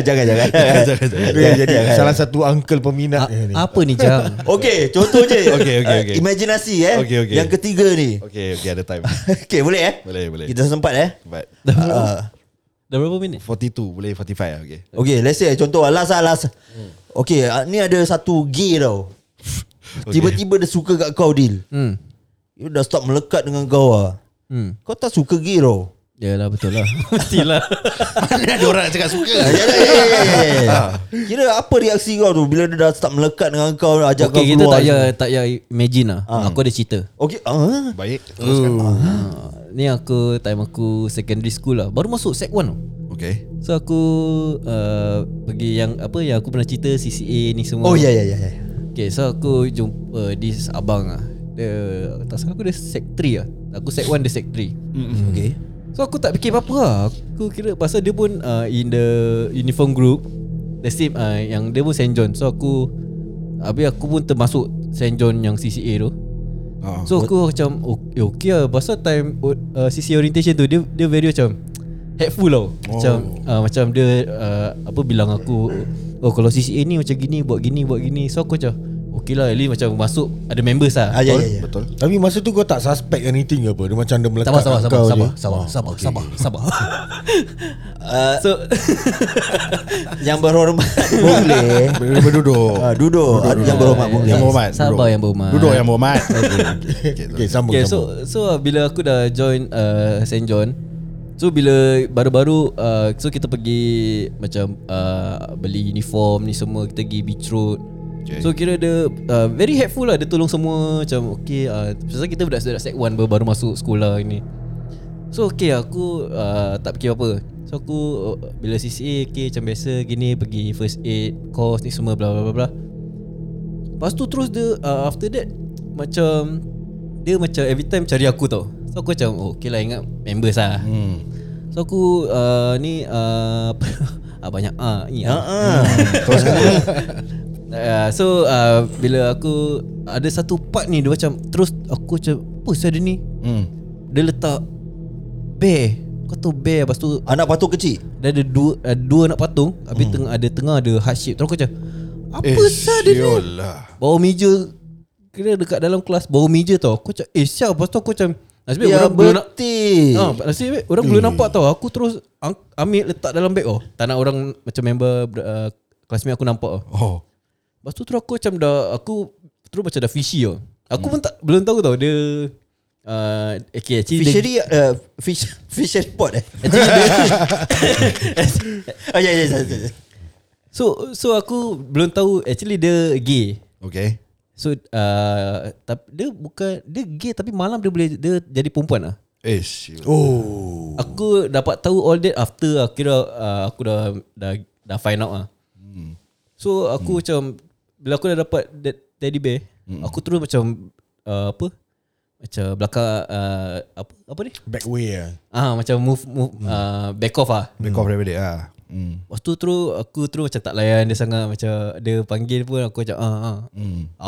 C: Jangan jangan
D: Jangan, jangan.
A: *laughs* Dia jadi kan? Ah. salah satu uncle peminat dia ni.
B: A- apa eh, ni jam?
C: Okay contoh je *laughs*
D: Okay, okay, okay.
C: Imaginasi eh
D: Okay, okay.
C: Yang ketiga ni
D: okay okay ada time
C: Okay boleh eh
D: Boleh, boleh.
C: Kita sempat *laughs* eh
D: but
C: Ah.
B: *laughs* Dah berapa minit?
D: 42 boleh 45 lah okay
C: Okay let's say contoh lah Last lah last Okay ah, ni ada satu gay *laughs* tau Tiba-tiba dia suka kat kau Dil
B: Hmm.
C: Dia dah stop melekat dengan kau lah
B: Hmm.
C: Kau tak suka gay tau
B: Yalah betul *laughs* lah. Mestilah.
D: mana ada orang nak cakap
C: *laughs*
D: suka
C: Ya, ya, ya, ya, ya, ya. Kira apa reaksi kau tu Bila dia dah start melekat dengan kau Ajak
B: okay,
C: kau
B: kita
C: keluar
B: tak payah tak payah imagine lah. Aku ada cerita.
C: Okay ah.
D: baik
B: Ah, ni aku time aku secondary school lah. Baru masuk sec 1 tau.
D: okay
B: So aku uh, pergi yang apa yang aku pernah cerita CCA ni semua.
C: Oh ya ya ya ya.
B: Okay so aku jumpa this abang ah. Dia tak salah aku dia sec 3 ah. Aku sec 1 dia sec 3. Mm-hmm. Okay. So aku tak fikir apa-apa lah. Aku kira pasal dia pun uh, in the uniform group the same uh, yang dia pun St John. So aku habis aku pun termasuk St John yang CCA tu.
D: Ah.
B: So aku macam oh, eh, okay lah Pasal time uh, CC orientation tu Dia dia very macam Helpful tau Macam uh, Macam "Oh, dia uh, Apa bilang aku Oh kalau CCA ni macam gini Buat gini buat gini So aku macam Okay lah at least macam masuk Ada members lah
C: Ah, ya, ya, ya.
D: Betul.
A: Tapi masa tu kau tak suspect anything ke apa Dia macam dia melekat
B: Sabar sabar
A: kat
B: sabar
A: kau
B: sabar
A: je. Ah,
B: sabar sabar sabar sabar. So
C: Yang berhormat boleh.
D: Ber- Berduduk.
C: Ah, duduk. Ah, yang berhormat boleh.
D: Yang berhormat.
B: Sabar
D: duduk.
B: yang berhormat.
D: Duduk yang berhormat.
A: Okay sambung
B: Okay
A: sambung
B: so so uh, bila aku dah join uh, St John So bila baru-baru uh, so kita pergi macam uh, beli uniform ni semua kita pergi beach road. Okay. So kira dia uh, very helpful lah dia tolong semua macam okay uh, pasal kita budak-budak sec 1 baru, baru masuk sekolah ni. So okay aku uh, tak fikir apa So aku uh, bila CCA okay macam biasa gini pergi first aid course ni semua bla bla bla bla Lepas tu terus dia uh, after that macam dia macam every time cari aku tau. So aku macam oh, okay lah ingat members lah. Hmm. So aku uh, ni uh, *laughs* ah banyak ah ni ah.
D: Terus kata,
B: Uh, so uh, bila aku ada satu part ni dia macam terus aku macam apa saya ada ni?
D: hmm.
B: Dia letak bear. Kau tahu bear lepas tu
C: Anak patung kecil.
B: dia ada dua uh, dua nak patung habis hmm. tengah ada tengah ada heart shape. Terus aku macam apa
D: Eh,
B: saya ada ni?
D: siol lah.
B: Bawah meja Kira dekat dalam kelas Bawah meja tau Aku macam Eh siap Lepas tu aku macam Nasib baik
C: Ya, Eh.
B: orang belum nak
C: betul.
D: Ah,
B: ha, Nasib baik orang belum nampak tau Aku terus ang- Ambil letak dalam beg oh. Tak nak orang Macam member uh, Classmate aku nampak oh.
D: Oh.
B: Lepas tu terus aku macam dah Aku Terus macam dah fishy oh. Aku pun tak Belum tahu tau Dia uh, Okay actually dia-
C: Fishery uh, fish fishery pot
D: *laughs*
C: eh. *laughs* oh ya ya ya. ya.
B: So so aku Belum tahu Actually dia gay
D: Okay.
B: So uh, tapi dia bukan dia gay tapi malam dia boleh dia jadi perempuan ah.
D: Eh, siul.
B: Oh. Aku dapat tahu all that after lah. Kira uh, aku dah, dah dah find out lah. So aku macam bila aku dah dapat that teddy bear, aku terus macam uh, apa? Macam belakang uh, apa apa ni?
A: Back way lah
B: Ah macam move move uh, back off ah.
D: Back off daripada dia. ah. Hmm.
B: Lepas tu terus aku terus macam tak layan dia sangat macam dia panggil pun aku macam ah, ah.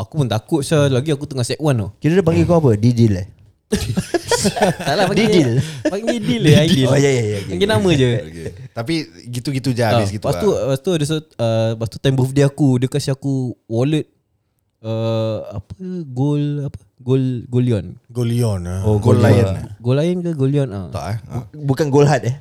B: Aku pun takut sah lagi aku tengah set one tau.
C: Kira dia panggil kau apa? Didil eh.
B: Tak lah panggil
C: Didil.
B: Panggil deal lah Aidil
C: Oh, ya, ya, ya, lah.
B: Panggil nama je
D: Okay. Tapi gitu-gitu je
B: Ah,
D: habis gitu lah.
B: Lepas tu Lepas tu ada satu- ah, Lepas tu time birthday aku Dia kasih aku wallet uh, Apa Gold Apa Gold Golion
A: Golion lah
D: Oh, Gold Lion.
B: Gold Lion ke Golion ah.
D: Tak eh. Ah.
C: Bukan Golhat
D: *laughs*
C: eh.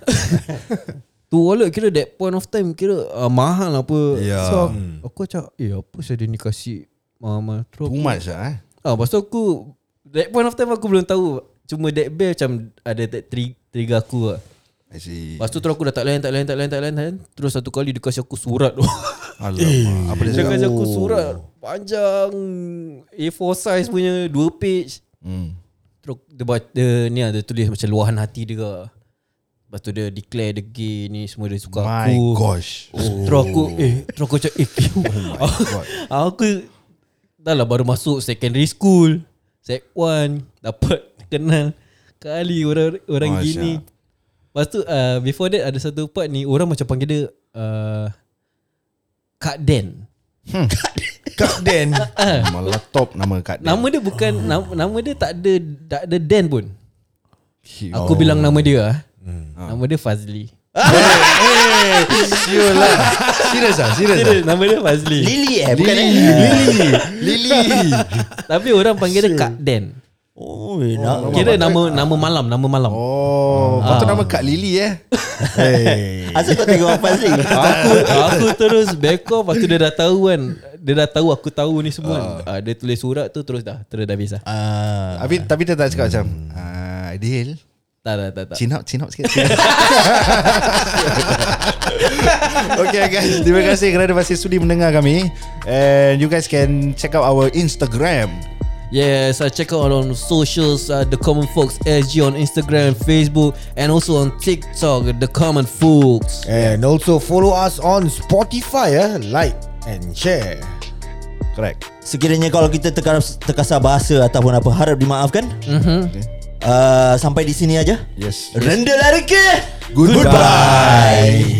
B: Tu wallet kira that point of time Kira uh, mahal apa
D: Ya.
B: So aku macam Eh apa saya dia ni kasih Mama
D: Too
B: Terus
D: much lah eh.
B: Ah, lepas tu aku That point of time aku belum tahu Cuma that bear macam Ada that tri- trigger aku lah
D: I see.
B: Lepas tu terus aku dah tak layan, tak layan, tak layan, tak layan, tak layan. Terus satu kali dia kasi aku surat tu.
D: Alamak. Apa dia
B: *laughs* dia
D: cakap?
B: kasi aku surat panjang A4 size punya dua page.
D: Hmm.
B: Terus dia, ba- dia ni ada tulis macam luahan hati dia. lah. Lepas tu dia declare dia gay ni semua dia suka
D: My
B: aku. *laughs*
D: gosh.
B: Oh. Terus aku eh terus aku macam eh *laughs*
D: God.
B: aku dah lah baru masuk secondary school. Sec 1 dapat kenal kali orang orang
D: Masya.
B: gini. Lepas tu uh, before that ada satu part ni orang macam panggil dia uh, Kak Dan.
A: Kak Dan
D: Malah top nama kat dia.
B: Nama dia bukan nama, nama dia tak ada tak ada Dan pun.
D: Siul.
B: Aku bilang nama dia ah. Hmm. Nama dia Fazli. *laughs*
D: Siul lah. *laughs* Serius lah, serius lah.
B: Serius, nama dia Fazli.
C: Lily eh, bukan eh.
D: Lily. Lily.
B: Tapi orang panggil dia Kak Dan.
C: Oh, nak.
B: Kira nama nama malam, nama malam.
D: Oh, patut
B: Ah.
D: nama Kak Lily
B: *laughs*
D: eh.
A: Hey
C: Asal kau tengok apa
D: *laughs*
C: sih?
D: Ah.
B: aku aku terus back off Lepas tu dia dah tahu kan Dia dah tahu aku tahu ni semua kan. uh. Dia tulis surat tu terus dah Terus dah habis lah
C: Ah,
D: Tapi tapi dia tak cakap macam
B: Hmm.
D: ah Adil,
B: Tak tak tak, tak.
D: chin up, chin up sikit. *laughs* chin up." okay guys, terima kasih kerana masih sudi mendengar kami and you guys can check out our Instagram.
B: Yes I check out on socials uh, The Common Folks SG on Instagram Facebook And also on TikTok The Common Folks
A: And also follow us on Spotify eh. Like and share
D: Correct.
C: Sekiranya kalau kita terkas- terkasar bahasa ataupun apa harap dimaafkan. Mhm. Uh, sampai di sini aja.
D: Yes.
C: Rendah lari ke?
D: Goodbye.
C: Bye.